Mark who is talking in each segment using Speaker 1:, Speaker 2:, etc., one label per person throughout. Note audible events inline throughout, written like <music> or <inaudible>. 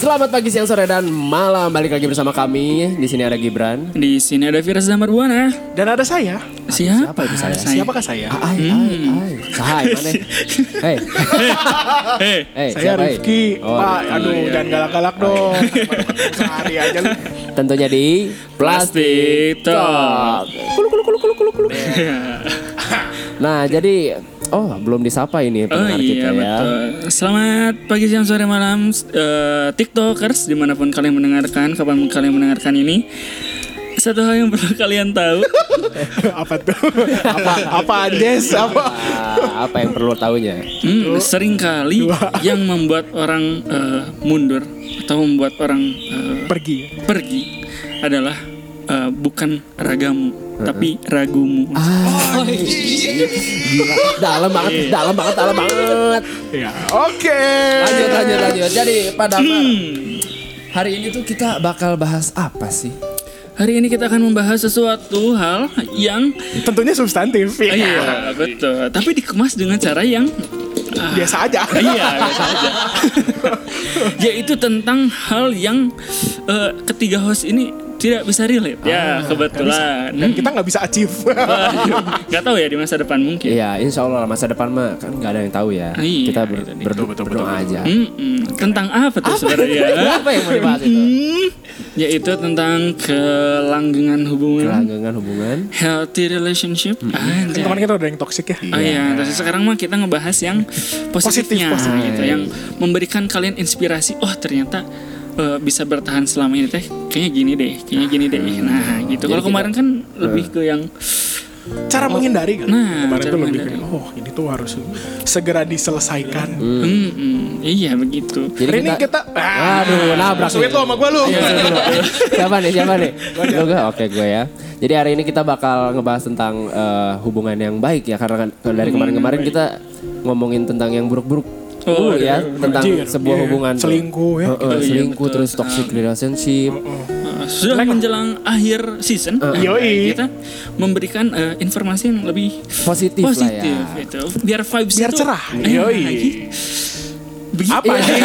Speaker 1: Selamat pagi, siang, sore, dan malam. Balik lagi bersama kami. Di sini ada Gibran.
Speaker 2: Di sini ada Firza Marbuana.
Speaker 3: Dan ada saya.
Speaker 2: Siapa?
Speaker 1: Siapa itu saya?
Speaker 3: Siapakah saya?
Speaker 1: Hai, hai,
Speaker 2: Hmm.
Speaker 1: hai. Sahai,
Speaker 2: <laughs>
Speaker 1: mana? Hei,
Speaker 2: Eh,
Speaker 1: hei,
Speaker 3: saya
Speaker 1: siapa?
Speaker 3: Rifki.
Speaker 1: Oh,
Speaker 3: Pak, aduh jangan galak-galak dong. Sehari aja lu.
Speaker 1: Tentunya di
Speaker 2: Plastik Talk.
Speaker 1: Kulu, kulu, kulu, kulu,
Speaker 2: <laughs>
Speaker 1: kulu, kulu. Nah, jadi oh belum disapa ini
Speaker 2: Oh
Speaker 1: pendengar kita ya.
Speaker 2: iya betul. Selamat pagi, siang, sore, malam, eh, TikTokers dimanapun kalian mendengarkan, kapan kalian mendengarkan ini. Satu hal yang perlu kalian
Speaker 1: <laughs>
Speaker 2: tahu,
Speaker 3: apa tuh? Apa apa Andes? Apa?
Speaker 1: Ah, apa yang perlu
Speaker 2: <laughs>
Speaker 1: tahunya?
Speaker 2: hmm, seringkali yang membuat orang eh, mundur atau membuat orang eh,
Speaker 3: Pergi.
Speaker 2: pergi adalah eh, bukan ragamu, tapi ragumu.
Speaker 1: Ah. Gila, dalam banget,
Speaker 2: Iya.
Speaker 1: dalam banget, dalam banget.
Speaker 3: Ya. Oke.
Speaker 1: Lanjut, lanjut, lanjut. Jadi pada
Speaker 2: Hmm.
Speaker 1: hari ini tuh kita bakal bahas apa sih?
Speaker 2: Hari ini kita akan membahas sesuatu hal yang
Speaker 3: Tentunya substantif.
Speaker 2: Ah,
Speaker 3: Ya.
Speaker 2: iya betul, tapi dikemas dengan cara yang ah,
Speaker 3: <laughs> Biasa aja.
Speaker 2: <laughs> iya biasa aja. Yaitu tentang hal yang eh, ketiga host ini tidak bisa relate. Ya kebetulan.
Speaker 3: Dan kita nggak bisa achieve.
Speaker 2: Oh, iya. Gak tahu ya di masa depan mungkin.
Speaker 1: Iya, insya Allah masa depan mah kan nggak ada yang tahu ya.
Speaker 2: Iya,
Speaker 1: kita ber-
Speaker 2: itu dia.
Speaker 1: berdo- berdoa aja.
Speaker 2: Mm-mm. Hmm, Tentang apa tuh <laughs> sebenarnya?
Speaker 1: <laughs> Apa yang mau dibahas itu?
Speaker 2: Hmm, Yaitu tentang kelanggengan hubungan,
Speaker 1: Kelanggengan hubungan.
Speaker 2: healthy relationship. Anjay.
Speaker 3: Teman kita udah yang toxic ya.
Speaker 2: Oh iya, terus sekarang mah kita ngebahas yang positifnya
Speaker 3: Positif, positif.
Speaker 2: gitu, yang memberikan kalian inspirasi. Oh ternyata eh, bisa bertahan selama ini teh, kayaknya gini deh, kayaknya gini deh. Nah gitu. Kalau kemarin kan lebih ke yang
Speaker 3: Cara menghindari kan.
Speaker 2: Nah, cara
Speaker 3: Kemarin tuh lebih
Speaker 2: menghindari.
Speaker 3: kayak, oh ini tuh harus segera diselesaikan.
Speaker 2: hmm, hmm, iya begitu.
Speaker 1: Jadi Iya.
Speaker 3: Hari ini kita ah,
Speaker 1: Aduh, nabrak. nih.
Speaker 3: Sweet lo sama gue lu.
Speaker 1: siapa nih siapa nih Lu gak? oke gue ya jadi hari ini kita bakal ngebahas tentang eh, hubungan yang baik ya karena kan dari kemarin-kemarin kita ngomongin tentang yang buruk-buruk
Speaker 2: Oh,
Speaker 1: dulu ya tentang
Speaker 3: Anjir,
Speaker 1: sebuah
Speaker 3: iya.
Speaker 1: hubungan tuh.
Speaker 3: Selingkuh
Speaker 1: Eh,
Speaker 3: ya.
Speaker 1: eh,
Speaker 2: Iya,
Speaker 1: selingkuh
Speaker 2: betul.
Speaker 1: terus toxic relationship
Speaker 2: Eh, sudah menjelang akhir season,
Speaker 3: Yoi.
Speaker 2: kita memberikan eh, informasi yang lebih
Speaker 1: positif,
Speaker 2: positif
Speaker 1: lah ya
Speaker 2: gitu. Biar vibes
Speaker 3: Biar
Speaker 2: itu-
Speaker 3: cerah.
Speaker 2: Eh,
Speaker 3: Yoi.
Speaker 2: lagi. Begitu.
Speaker 3: Apa
Speaker 2: Iya.
Speaker 3: <laughs> sih?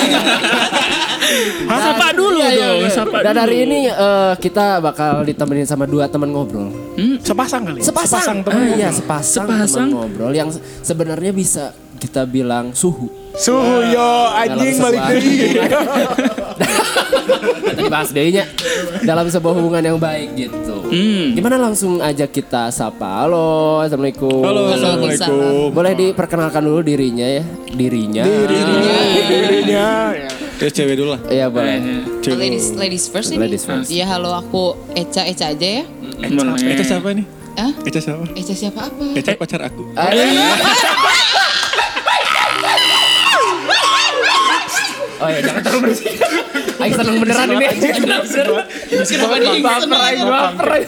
Speaker 2: Hah? Sapa dulu
Speaker 1: Iya, iya,
Speaker 2: dong,
Speaker 1: iya.
Speaker 2: sapa
Speaker 1: dan hari
Speaker 2: dulu.
Speaker 1: ini eh, kita bakal ditemenin sama dua teman ngobrol
Speaker 3: Sepasang kali.
Speaker 1: sepasang,
Speaker 3: temen
Speaker 1: Ah,
Speaker 3: gua.
Speaker 1: iya sepasang,
Speaker 2: Sepasang.
Speaker 1: teman ngobrol yang se- sebenarnya bisa kita bilang suhu
Speaker 3: Suhu yo anjing
Speaker 1: Dalam
Speaker 3: balik
Speaker 1: sebuah
Speaker 3: lagi. <laughs>
Speaker 1: Tadi bahas dehnya dalam sebuah hubungan yang baik gitu.
Speaker 2: Hmm.
Speaker 1: Gimana langsung aja kita sapa. Halo, assalamualaikum.
Speaker 2: Halo,
Speaker 4: Assalamualaikum.
Speaker 1: Boleh diperkenalkan dulu dirinya ya, dirinya.
Speaker 3: Dirinya. ya.
Speaker 4: Terus cewek dulu lah.
Speaker 1: Iya boleh.
Speaker 2: Eh,
Speaker 4: Cewek. Oh, Ladies, ladies first ini.
Speaker 1: Ladies first. Hmm.
Speaker 4: Iya halo aku Eca Eca aja ya.
Speaker 2: boleh.
Speaker 4: Eca siapa nih? Hah?
Speaker 5: Eca siapa?
Speaker 4: Eca siapa apa?
Speaker 5: Eca pacar aku.
Speaker 1: Oh iya, jangan terlalu berisik. Ayo seneng beneran ini.
Speaker 4: Kenapa di Inggris sama
Speaker 1: Baperan,
Speaker 4: aku?
Speaker 1: baperan.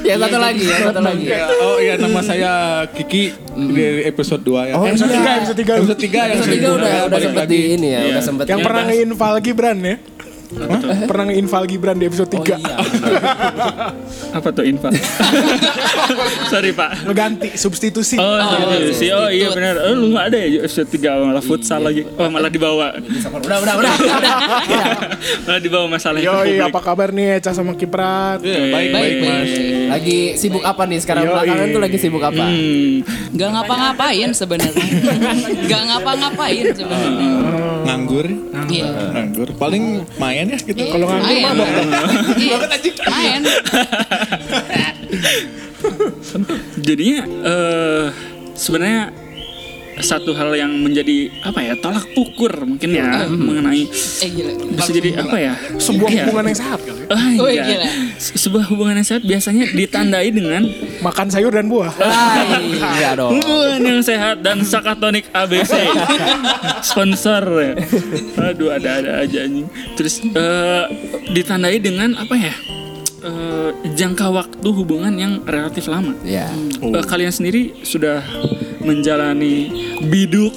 Speaker 1: Ya satu lagi, ya satu lagi.
Speaker 5: Ya, oh iya nama
Speaker 4: Hmm.
Speaker 5: saya Kiki dari episode 2 ya.
Speaker 1: Oh,
Speaker 3: Episode
Speaker 1: iya.
Speaker 3: tiga, episode tiga.
Speaker 5: episode 3 yang
Speaker 1: Episode tiga
Speaker 5: selingkuh.
Speaker 1: udah
Speaker 5: Ya,
Speaker 1: udah
Speaker 5: balik
Speaker 1: sempet
Speaker 5: lagi.
Speaker 1: di ini ya,
Speaker 2: Iya.
Speaker 1: udah sempet.
Speaker 3: Yang
Speaker 1: di-
Speaker 3: pernah ngeinval Gibran ya. Pernah ngeinval Gibran di episode
Speaker 1: Oh
Speaker 3: 3.
Speaker 1: iya.
Speaker 3: <laughs>
Speaker 2: Apa tuh info? Sorry pak.
Speaker 3: Lo ganti substitusi.
Speaker 2: Oh, serius sih. Oh iya
Speaker 4: itu.
Speaker 2: benar. Oh, lu nggak ada ya episode 3 malah futsal lagi. Oh malah <laughs> dibawa.
Speaker 1: Udah, udah, udah.
Speaker 2: malah dibawa masalah itu
Speaker 3: Yoi,
Speaker 2: iya, publik.
Speaker 3: iya, apa kabar nih Eca sama Kibran?
Speaker 5: Iya, baik,
Speaker 4: Baik,
Speaker 5: baik, Mas.
Speaker 4: baik.
Speaker 1: Lagi sibuk apa nih sekarang
Speaker 3: Yoi.
Speaker 1: belakangan tuh lagi sibuk apa?
Speaker 2: Hmm.
Speaker 4: Gak ngapa-ngapain
Speaker 1: <laughs>
Speaker 4: sebenarnya. Gak ngapa-ngapain sebenarnya.
Speaker 1: Hmm.
Speaker 5: Nganggur,
Speaker 1: Ah.
Speaker 4: Iya.
Speaker 5: nganggur. Paling main ya gitu.
Speaker 4: Iya,
Speaker 5: Kalau nganggur
Speaker 4: main.
Speaker 5: mabok.
Speaker 4: Iya, Main.
Speaker 2: Jadinya eh sebenarnya satu hal yang menjadi apa ya tolak ukur mungkin ya
Speaker 3: Iya.
Speaker 2: mengenai
Speaker 4: Eh gila. gila.
Speaker 2: bisa jadi apa ya
Speaker 3: Sebuah
Speaker 2: Iya.
Speaker 3: hubungan yang sehat kali. ya.
Speaker 2: Ah,
Speaker 4: Oh,
Speaker 2: iya.
Speaker 4: gila.
Speaker 2: Se- sebuah hubungan yang sehat biasanya ditandai dengan
Speaker 3: Makan sayur dan buah.
Speaker 1: Hai, iya dong.
Speaker 2: Hubungan yang sehat dan sakatonik ABC sponsor. Aduh ada-ada aja anjing. Terus eh, ditandai dengan apa ya? Eh, jangka waktu hubungan yang relatif lama.
Speaker 1: Ya.
Speaker 2: Eh, kalian sendiri sudah menjalani biduk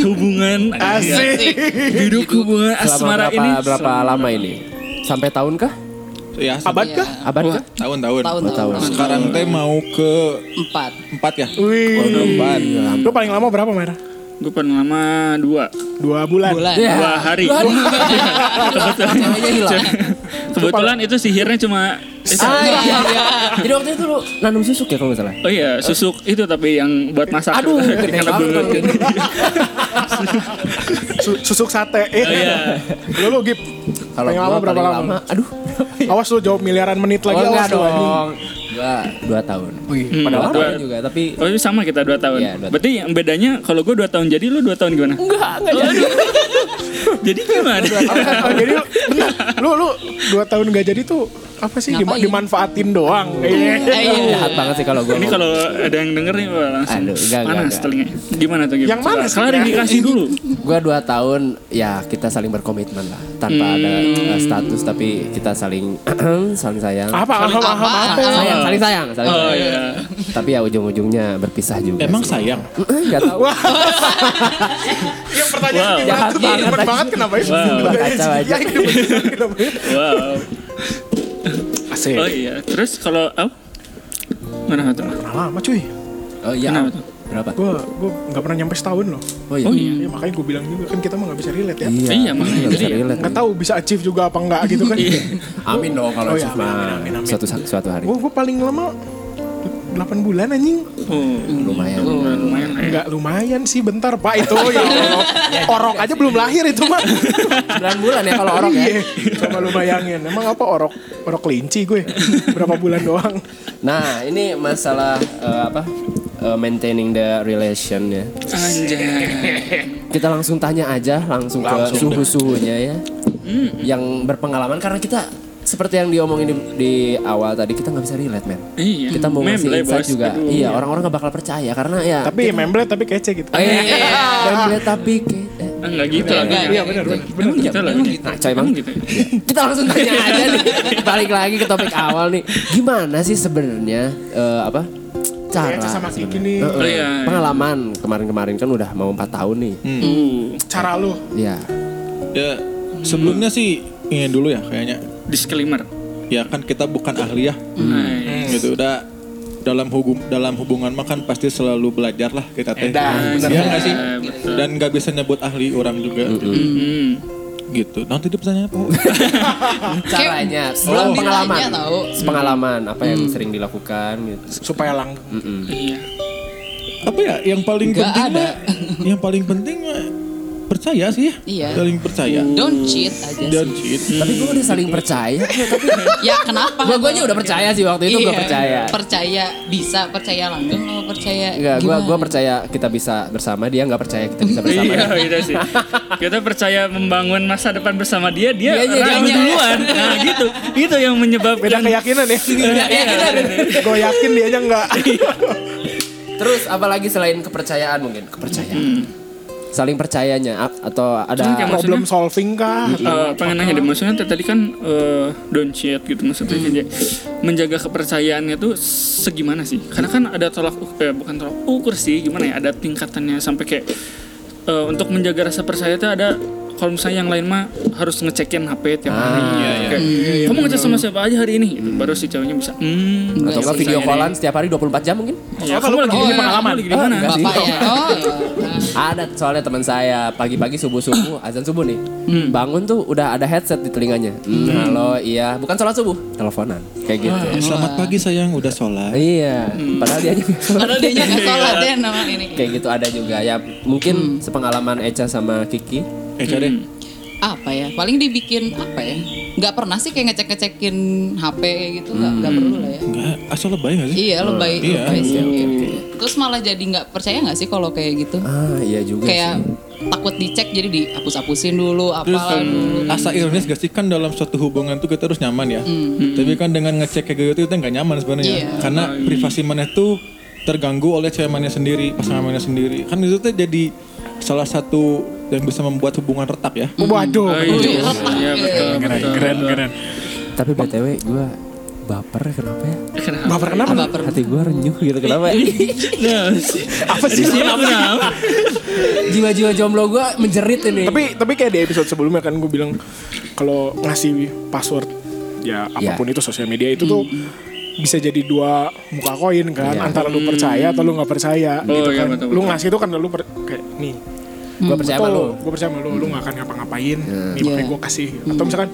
Speaker 2: hubungan
Speaker 3: Asik.
Speaker 2: biduk hubungan
Speaker 1: Selama
Speaker 2: asmara
Speaker 1: berapa,
Speaker 2: ini
Speaker 1: berapa lama ini? Sampai tahun kah?
Speaker 5: Ya,
Speaker 3: Abad
Speaker 4: Iya.
Speaker 3: kah?
Speaker 1: Abad
Speaker 2: Wah.
Speaker 1: kah?
Speaker 5: tahun-tahun.
Speaker 4: Tahun tahun.
Speaker 1: Tahun.
Speaker 5: Sekarang teh mau ke
Speaker 4: Empat.
Speaker 5: 4 ya?
Speaker 3: Wih.
Speaker 5: Tahun keempat.
Speaker 1: Iya.
Speaker 3: Lo paling lama berapa, Mer?
Speaker 2: Gue pernah lama dua,
Speaker 3: Dua bulan.
Speaker 4: Bulan.
Speaker 1: Ya.
Speaker 2: dua hari. <laughs> Kebetulan,
Speaker 4: Eh, Ceweknya hilang.
Speaker 2: kebetulan itu sihirnya cuma itu.
Speaker 1: Ah, iya, iya. Jadi waktu itu lu nanam susuk ya kalau nggak salah.
Speaker 2: Oh iya, susuk itu tapi yang buat masak. <laughs>
Speaker 1: Aduh, gede
Speaker 2: Karena
Speaker 1: banget.
Speaker 2: belut
Speaker 1: <laughs>
Speaker 2: kan.
Speaker 3: Su- susuk sate. Eh.
Speaker 2: Oh iya.
Speaker 3: Lu lu gip.
Speaker 1: Kalau gua
Speaker 3: Paling lama berapa
Speaker 1: paling
Speaker 3: lama?
Speaker 1: lama, aduh.
Speaker 3: Awas lu jawab miliaran menit
Speaker 1: Oh
Speaker 3: lagi
Speaker 1: enggak
Speaker 3: awas lu.
Speaker 1: <laughs>
Speaker 3: anjing.
Speaker 1: dong. Gua dua tahun.
Speaker 2: Hmm,
Speaker 1: Dua
Speaker 2: dua-
Speaker 1: tahun juga, tapi
Speaker 2: Oh itu sama kita dua tahun.
Speaker 1: Iya, dua tahun.
Speaker 2: Berarti yang bedanya kalau gue dua tahun jadi lu dua tahun gimana? Oh,
Speaker 1: enggak, enggak jadi.
Speaker 2: <laughs> Jadi gimana?
Speaker 3: Oh, jadi lu- bentar, lu lu dua tahun gak jadi tuh apa sih dima-
Speaker 4: Ngapain?
Speaker 3: dimanfaatin doang. Iya.
Speaker 4: Eh, iya.
Speaker 1: Jahat banget sih kalau gua.
Speaker 2: Ini kalau ada yang denger nih wah, langsung
Speaker 1: Aduh, enggak, enggak,
Speaker 2: panas
Speaker 1: enggak.
Speaker 2: telinganya. Gimana tuh? Gimana?
Speaker 3: Yang mana sih?
Speaker 2: Klarifikasi dulu.
Speaker 1: Gua dua tahun ya kita saling berkomitmen lah tanpa ada uh, status tapi kita saling <clears throat> saling sayang.
Speaker 3: Apa apa apa apa? apa?
Speaker 1: Sayang, saling sayang, saling
Speaker 2: Oh
Speaker 1: sayang.
Speaker 2: iya.
Speaker 1: Tapi ya ujung-ujungnya berpisah juga.
Speaker 5: Emang
Speaker 1: sih.
Speaker 5: sayang.
Speaker 1: Enggak tahu.
Speaker 3: Yang pertanyaan
Speaker 2: Wow.
Speaker 3: gimana
Speaker 1: Jahat
Speaker 3: tuh?
Speaker 1: banget,
Speaker 3: Ribet banget kenapa ya?
Speaker 2: Wow.
Speaker 1: Iya. Kacau aja.
Speaker 2: Wow.
Speaker 3: Asik.
Speaker 2: Oh iya. Terus kalau oh, mana tuh?
Speaker 3: Pernah lama cuy.
Speaker 1: Oh iya.
Speaker 2: Kenapa tuh?
Speaker 1: Berapa?
Speaker 3: Gue gue nggak pernah nyampe setahun loh.
Speaker 1: Oh iya.
Speaker 2: Oh iya.
Speaker 3: Ya, makanya gue bilang juga kan kita mah nggak bisa relate ya.
Speaker 1: Iya,
Speaker 2: Iya,
Speaker 1: nggak
Speaker 2: makanya
Speaker 1: bisa
Speaker 2: jadi ya.
Speaker 1: relate.
Speaker 3: Nggak tahu bisa achieve juga apa nggak gitu kan.
Speaker 1: Iya. Amin dong kalau
Speaker 3: Oh iya,
Speaker 1: Yusuf
Speaker 3: amin,
Speaker 1: mah.
Speaker 3: amin, amin, amin. Oh.
Speaker 1: Suatu suatu hari
Speaker 3: Gue gue paling lama 8 bulan anjing
Speaker 2: Oh,
Speaker 1: lumayan.
Speaker 2: oh, lumayan lah ya.
Speaker 3: Nggak lumayan sih bentar pak itu ya Allah. Orok aja belum lahir itu mah
Speaker 1: 9 bulan ya kalau orang ya.
Speaker 3: Iya Coba lu bayangin Emang apa orok Orok kelinci gue Berapa bulan doang
Speaker 1: Nah, ini masalah eh, apa? Eh, maintaining the relation ya.
Speaker 2: Anjay.
Speaker 1: Kita langsung tanya aja langsung, ke suhu-suhunya ya. Yang berpengalaman karena kita seperti yang diomongin di, di awal tadi kita nggak bisa relate men.
Speaker 2: Iya.
Speaker 1: Kita mau ngasih
Speaker 2: Memble,
Speaker 1: insight
Speaker 2: bos.
Speaker 1: juga.
Speaker 2: Aduh.
Speaker 1: Iya, orang-orang nggak bakal percaya karena ya.
Speaker 3: Tapi memble tapi kece gitu
Speaker 1: Eh, memble tapi ke- eh.
Speaker 2: Enggak gitu lah.
Speaker 4: Enggak,
Speaker 2: Iya,
Speaker 3: benar, benar,
Speaker 2: Emang gitu lah.
Speaker 1: Nah, coy bang.
Speaker 2: Emang gitu. ya?
Speaker 1: kita langsung tanya aja nih balik lagi ke topik awal nih gimana sih sebenarnya eh, apa cara
Speaker 3: Kayaknya sama Kiki
Speaker 1: sebenarnya?
Speaker 3: nih.
Speaker 1: Eh, eh,
Speaker 2: Oh, iya.
Speaker 1: pengalaman kemarin-kemarin kan udah mau 4 tahun nih
Speaker 2: Uh,
Speaker 3: Cara lu
Speaker 1: Iya
Speaker 5: Ya sebelumnya sih ini dulu ya kayaknya.
Speaker 2: disclaimer.
Speaker 5: Ya kan kita bukan ahli ya.
Speaker 2: Nah,
Speaker 5: Gitu udah dalam hubung dalam hubungan makan pasti selalu belajar lah kita teh.
Speaker 1: Edan,
Speaker 5: Iya
Speaker 2: bener.
Speaker 5: nggak sih?
Speaker 2: Iya, betul.
Speaker 5: Dan nggak bisa nyebut ahli orang juga.
Speaker 2: Hmm.
Speaker 5: Gitu. Nanti dia pertanyaan apa?
Speaker 1: caranya
Speaker 4: Belum
Speaker 1: oh, pengalaman
Speaker 4: ditanya tahu.
Speaker 1: pengalaman apa yang sering dilakukan gitu
Speaker 3: Supaya lang
Speaker 1: Mm-mm.
Speaker 2: Iya.
Speaker 5: apa ya yang paling
Speaker 4: Nggak
Speaker 5: penting
Speaker 4: ada.
Speaker 5: mah yang paling penting mah percaya sih ya.
Speaker 4: Iya.
Speaker 5: Paling percaya.
Speaker 4: Don't cheat aja
Speaker 5: Dan
Speaker 4: sih.
Speaker 5: cheat.
Speaker 1: tapi gue udah saling <laughs> percaya tapi
Speaker 4: Ya kenapa?
Speaker 1: gue gue udah percaya sih waktu itu gue
Speaker 4: Iya.
Speaker 1: percaya
Speaker 4: Percaya bisa percaya langgeng kalau percaya.
Speaker 1: Enggak, gue
Speaker 4: gimana?
Speaker 1: gue percaya kita bisa bersama dia nggak percaya kita <laughs> bisa bersama
Speaker 2: Iya, iya sih. Kita percaya membangun masa depan bersama dia, dia
Speaker 1: Iya, iya,
Speaker 2: ragu
Speaker 1: iya.
Speaker 2: duluan. Nah, gitu. Itu yang menyebabkan
Speaker 3: Beda keyakinan ya
Speaker 2: Iya,
Speaker 3: Gue yakin dia aja nggak
Speaker 1: Terus apalagi selain kepercayaan mungkin kepercayaan saling percayanya a- atau
Speaker 2: Cuman kayak
Speaker 1: ada
Speaker 3: Problem solving kah
Speaker 2: Eh, pengen nanya deh maksudnya tadi tadi kan eh, don't cheat gitu maksudnya kayak menjaga kepercayaannya tuh segimana sih karena kan ada tolak uk- eh, bukan tolak ukur sih gimana ya ada tingkatannya sampai kayak eh, untuk menjaga rasa percaya tuh ada kalau misalnya yang lain mah harus ngecekin HP tiap hari Kayak, kamu ngecek sama siapa aja hari ini Gitu. baru si ceweknya bisa hmm
Speaker 1: atau nggak
Speaker 2: percaya
Speaker 1: video
Speaker 2: deh.
Speaker 1: callan setiap hari 24 jam mungkin
Speaker 2: ya, kamu lagi
Speaker 4: Oh,
Speaker 2: di
Speaker 4: iya.
Speaker 2: pengalaman lagi di mana
Speaker 1: enggak sih.
Speaker 4: Bapak ya. Oh. iya.
Speaker 1: ada soalnya teman saya pagi-pagi <coughs> subuh-subuh azan subuh nih bangun tuh udah ada headset di telinganya Hmm, halo iya bukan sholat subuh teleponan kayak gitu
Speaker 5: Eh, Selamat pagi sayang udah sholat.
Speaker 1: iya padahal dia juga sholat.
Speaker 4: Padahal dia nggak sholat deh nama ini.
Speaker 1: kayak gitu ada juga ya mungkin sepengalaman Echa sama Kiki
Speaker 5: Eh cari.
Speaker 4: Apa ya? Paling dibikin apa ya? Nggak pernah sih kayak ngecek-ngecekin HP kayak gitu. Nggak nggak perlu lah ya.
Speaker 5: Enggak, asal lebay gak sih?
Speaker 4: Iya lebay,
Speaker 5: Iya.
Speaker 4: lebay sih. oke, oke. Terus malah jadi nggak percaya nggak sih kalau kayak gitu?
Speaker 1: ah iya juga
Speaker 4: kayak
Speaker 1: sih
Speaker 4: takut dicek jadi dihapus-hapusin dulu
Speaker 5: Terus eh,
Speaker 4: apalah dulu.
Speaker 5: asa ironis gak sih kan dalam suatu hubungan tuh kita harus nyaman ya. Tapi kan dengan ngecek kayak gitu itu nggak nyaman sebenarnya.
Speaker 4: Iya.
Speaker 5: Karena privasi mana tuh terganggu oleh cewek mana sendiri, pasangan mana sendiri. Kan itu tuh jadi salah satu yang bisa membuat hubungan retak ya.
Speaker 3: Waduh
Speaker 2: Oh, iya, Iya, betul, betul.
Speaker 1: tapi btw gue baper ya, kenapa ya
Speaker 2: Kenapa?
Speaker 3: Baper kenapa lu?
Speaker 1: hati gue renyuh gitu kenapa ya?
Speaker 2: Nah, sih.
Speaker 3: Apa sih lu?
Speaker 2: Kenapa?
Speaker 1: <laughs> jiwa-jiwa jomblo gue menjerit ini
Speaker 3: Tapi tapi kayak di episode sebelumnya kan gue bilang kalau ngasih password ya apapun itu sosial media itu tuh bisa jadi dua muka koin kan
Speaker 1: Iya.
Speaker 3: antara lu percaya atau lu nggak percaya
Speaker 2: Oh,
Speaker 3: gitu
Speaker 2: iya,
Speaker 3: kan
Speaker 2: betul,
Speaker 3: lu
Speaker 2: betul.
Speaker 3: ngasih itu karena lu per- kayak nih
Speaker 1: Gue percaya sama lu.
Speaker 3: gue percaya sama lu lu nggak akan ngapa-ngapain nih makanya
Speaker 4: Iya.
Speaker 3: gue kasih atau misalkan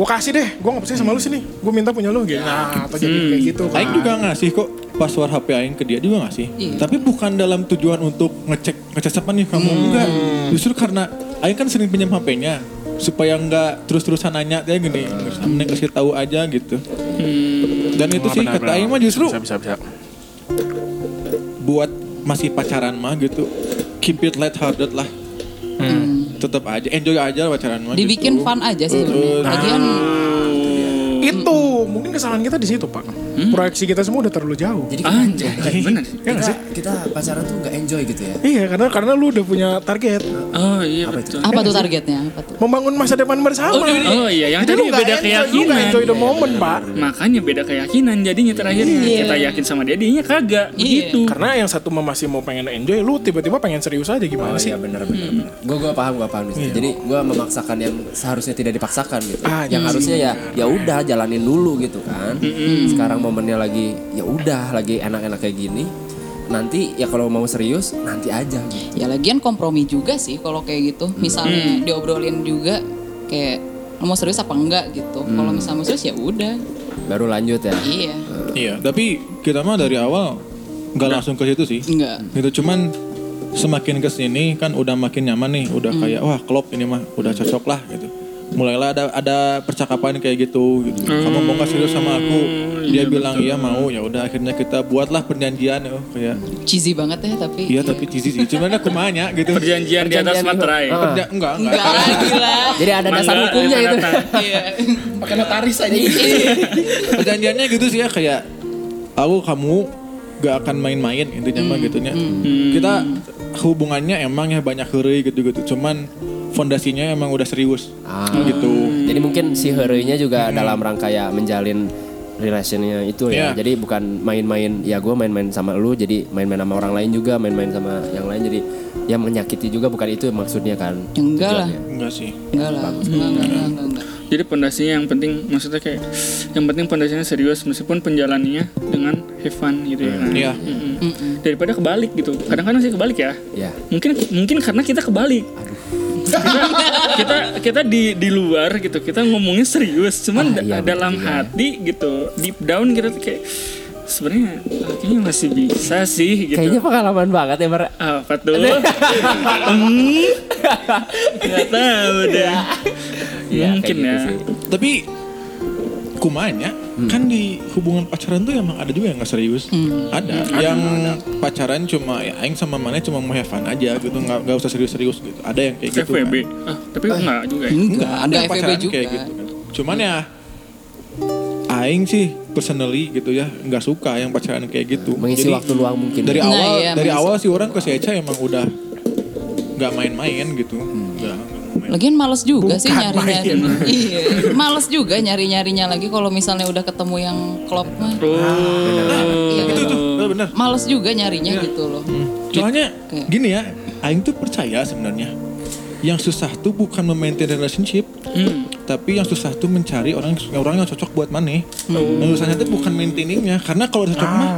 Speaker 3: gue kasih deh gue nggak percaya sama lu sini gue minta punya lu gitu nah atau jadi kayak gitu kan
Speaker 5: Aing juga ngasih kok password HP Aing ke dia juga ngasih.
Speaker 4: Iya.
Speaker 5: Tapi bukan dalam tujuan untuk ngecek ngecek siapa nih kamu enggak. Justru karena Aing kan sering pinjam HP-nya supaya nggak terus-terusan nanya kayak gini. Mending kasih tahu aja gitu. Dan itu sih kata Aing mah justru
Speaker 3: bisa bisa
Speaker 5: buat masih pacaran mah gitu. Keep it light hearted lah. Tetap aja enjoy aja pacaran mah. gitu.
Speaker 4: Dibikin fun aja sih sebenarnya. Lagian
Speaker 3: itu mungkin kesalahan kita di situ pak proyeksi kita semua udah terlalu jauh
Speaker 1: Jadi
Speaker 2: Anjay, bener.
Speaker 3: ya
Speaker 1: kita,
Speaker 3: nggak sih
Speaker 1: kita pacaran tuh nggak enjoy gitu ya.
Speaker 3: iya karena karena lu udah punya target
Speaker 2: Oh iya betul.
Speaker 4: apa tuh targetnya? Apa tuh?
Speaker 3: membangun masa depan bersama
Speaker 2: Oh, iya, oh iya, yang
Speaker 3: Jadi
Speaker 2: tadi
Speaker 3: lu nggak
Speaker 2: beda
Speaker 3: enjoy, lu nggak
Speaker 2: keyakinan. iya.
Speaker 3: enjoy the moment pak
Speaker 2: Makanya beda keyakinan jadinya terakhirnya
Speaker 1: Iya.
Speaker 2: kita yakin sama dia, dianya kagak.
Speaker 4: Iya.
Speaker 2: Gitu.
Speaker 3: karena yang satu mah masih mau pengen enjoy lu tiba-tiba pengen serius aja gimana
Speaker 1: Oh
Speaker 3: sih
Speaker 1: iya benar benar.
Speaker 3: Hmm.
Speaker 1: benar. Gue gue paham gue paham. di situ. Jadi gue memaksakan yang seharusnya tidak dipaksakan gitu.
Speaker 3: Iya. Ah,
Speaker 1: yang
Speaker 3: iya.
Speaker 1: harusnya ya ya udah jalanin dulu gitu kan. Sekarang momennya lagi ya udah lagi enak-enak kayak gini. Nanti ya kalau mau serius nanti aja gitu.
Speaker 4: Ya lagian kompromi juga sih kalau kayak gitu. Misalnya diobrolin juga kayak "Lo mau serius apa enggak gitu. Kalau misalnya mau serius ya udah.
Speaker 1: Baru lanjut ya.
Speaker 4: Iya.
Speaker 5: Iya, tapi kita mah dari awal nggak langsung ke situ sih.
Speaker 4: Enggak.
Speaker 5: Gitu cuman semakin ke sini kan udah makin nyaman nih, udah kayak wah klop ini mah, udah cocok lah gitu. Mulailah ada ada percakapan kayak gitu, gitu. Kamu mau nggak serius sama aku? Dia bilang iya mau, ya udah akhirnya kita buatlah perjanjian oh, kayak
Speaker 4: Cheesy banget ya tapi.
Speaker 5: iya tapi cheesy sih. Cuman aku mahnya gitu.
Speaker 2: Perjanjian di atas
Speaker 1: Perjanjian
Speaker 2: materai.
Speaker 1: gitu.
Speaker 5: Perja- enggak, enggak.
Speaker 4: Enggak
Speaker 5: <laughs>
Speaker 4: lagi lah.
Speaker 1: Jadi ada dasar
Speaker 2: Mangga,
Speaker 1: hukumnya gitu.
Speaker 2: eh,
Speaker 1: itu.
Speaker 2: tanda
Speaker 1: <laughs>
Speaker 2: tangan.
Speaker 4: Iya.
Speaker 1: Pakai notaris aja.
Speaker 5: Perjanjiannya gitu sih ya kayak aku kamu gak akan main-main intinya mah gitunya. Kita hubungannya emang ya banyak huri gitu-gitu. Cuman fondasinya emang udah serius.
Speaker 1: Ah.
Speaker 5: Gitu.
Speaker 1: Jadi mungkin si herenya juga dalam rangka ya menjalin relationnya itu ya.
Speaker 5: Iya.
Speaker 1: Jadi bukan main-main ya gue main-main sama lu jadi main-main sama orang lain juga main-main sama yang lain jadi yang menyakiti juga bukan itu maksudnya kan.
Speaker 4: Enggak Ya, lah.
Speaker 1: Tujuannya.
Speaker 5: Enggak sih.
Speaker 4: Enggak lah. Enggak enggak enggak enggak. enggak.
Speaker 2: Jadi pondasinya yang penting maksudnya kayak yang penting pondasinya serius meskipun penjalannya dengan have fun gitu ya. kan?
Speaker 5: Iya.
Speaker 2: Mm-mm. Daripada kebalik gitu. Kadang-kadang sih kebalik ya.
Speaker 1: Ya.
Speaker 2: Mungkin mungkin karena kita kebalik. Kita, kita kita di di luar gitu. Kita ngomongnya serius, cuman
Speaker 1: Ah,
Speaker 2: da-
Speaker 1: iya, bener
Speaker 2: dalam
Speaker 1: juga.
Speaker 2: hati gitu, deep down kita tuh kayak sebenarnya kayaknya masih bisa sih gitu.
Speaker 1: Kayaknya pengalaman banget ya Mar.
Speaker 2: Apa tuh? Hmm. Nggak tahu deh. Hmm,
Speaker 1: Iya,
Speaker 2: Mungkin
Speaker 1: kayak
Speaker 2: ya.
Speaker 1: gitu sih.
Speaker 5: Tapi kumanya kan di hubungan pacaran tuh emang ada juga yang gak serius. Hmm. Ada. yang pacaran cuma ya aing sama mana cuma mau have fun aja gitu. Nggak nggak usah serius-serius gitu. Ada yang kayak gitu. kan.
Speaker 2: FWB. Ah, tapi
Speaker 1: Eh.
Speaker 2: enggak juga
Speaker 1: Ah,
Speaker 2: ya.
Speaker 4: Enggak, ada
Speaker 5: yang
Speaker 4: FVB
Speaker 5: pacaran
Speaker 4: juga.
Speaker 5: kayak gitu kan. Cuman ya aing sih personally gitu ya nggak suka yang pacaran kayak gitu.
Speaker 1: Mengisi
Speaker 5: Jadi,
Speaker 1: waktu luang mungkin. ya.
Speaker 5: dari
Speaker 4: Nah,
Speaker 5: awal
Speaker 4: iya,
Speaker 5: dari
Speaker 4: mengisi
Speaker 5: awal sih orang ke si Eca emang udah nggak main-main gitu.
Speaker 4: Hmm.
Speaker 5: Nggak, nggak main.
Speaker 4: Lagian males juga sih nyari-nyari. Iya, males juga nyari-nyarinya lagi kalau misalnya udah ketemu yang klop mah.
Speaker 2: Oh.
Speaker 4: Iya kan?
Speaker 5: Itu tuh benar.
Speaker 4: Males juga nyarinya
Speaker 5: Iya.
Speaker 4: gitu loh.
Speaker 5: Hmm. Soalnya
Speaker 4: Kayak-
Speaker 5: gini ya, aing tuh percaya sebenarnya yang susah tuh bukan memaintain relationship,
Speaker 2: Hmm.
Speaker 5: tapi yang susah tuh mencari orang orang yang cocok buat mana.
Speaker 4: Hmm.
Speaker 5: Yang susahnya tuh bukan maintainingnya, karena kalau udah cocok mah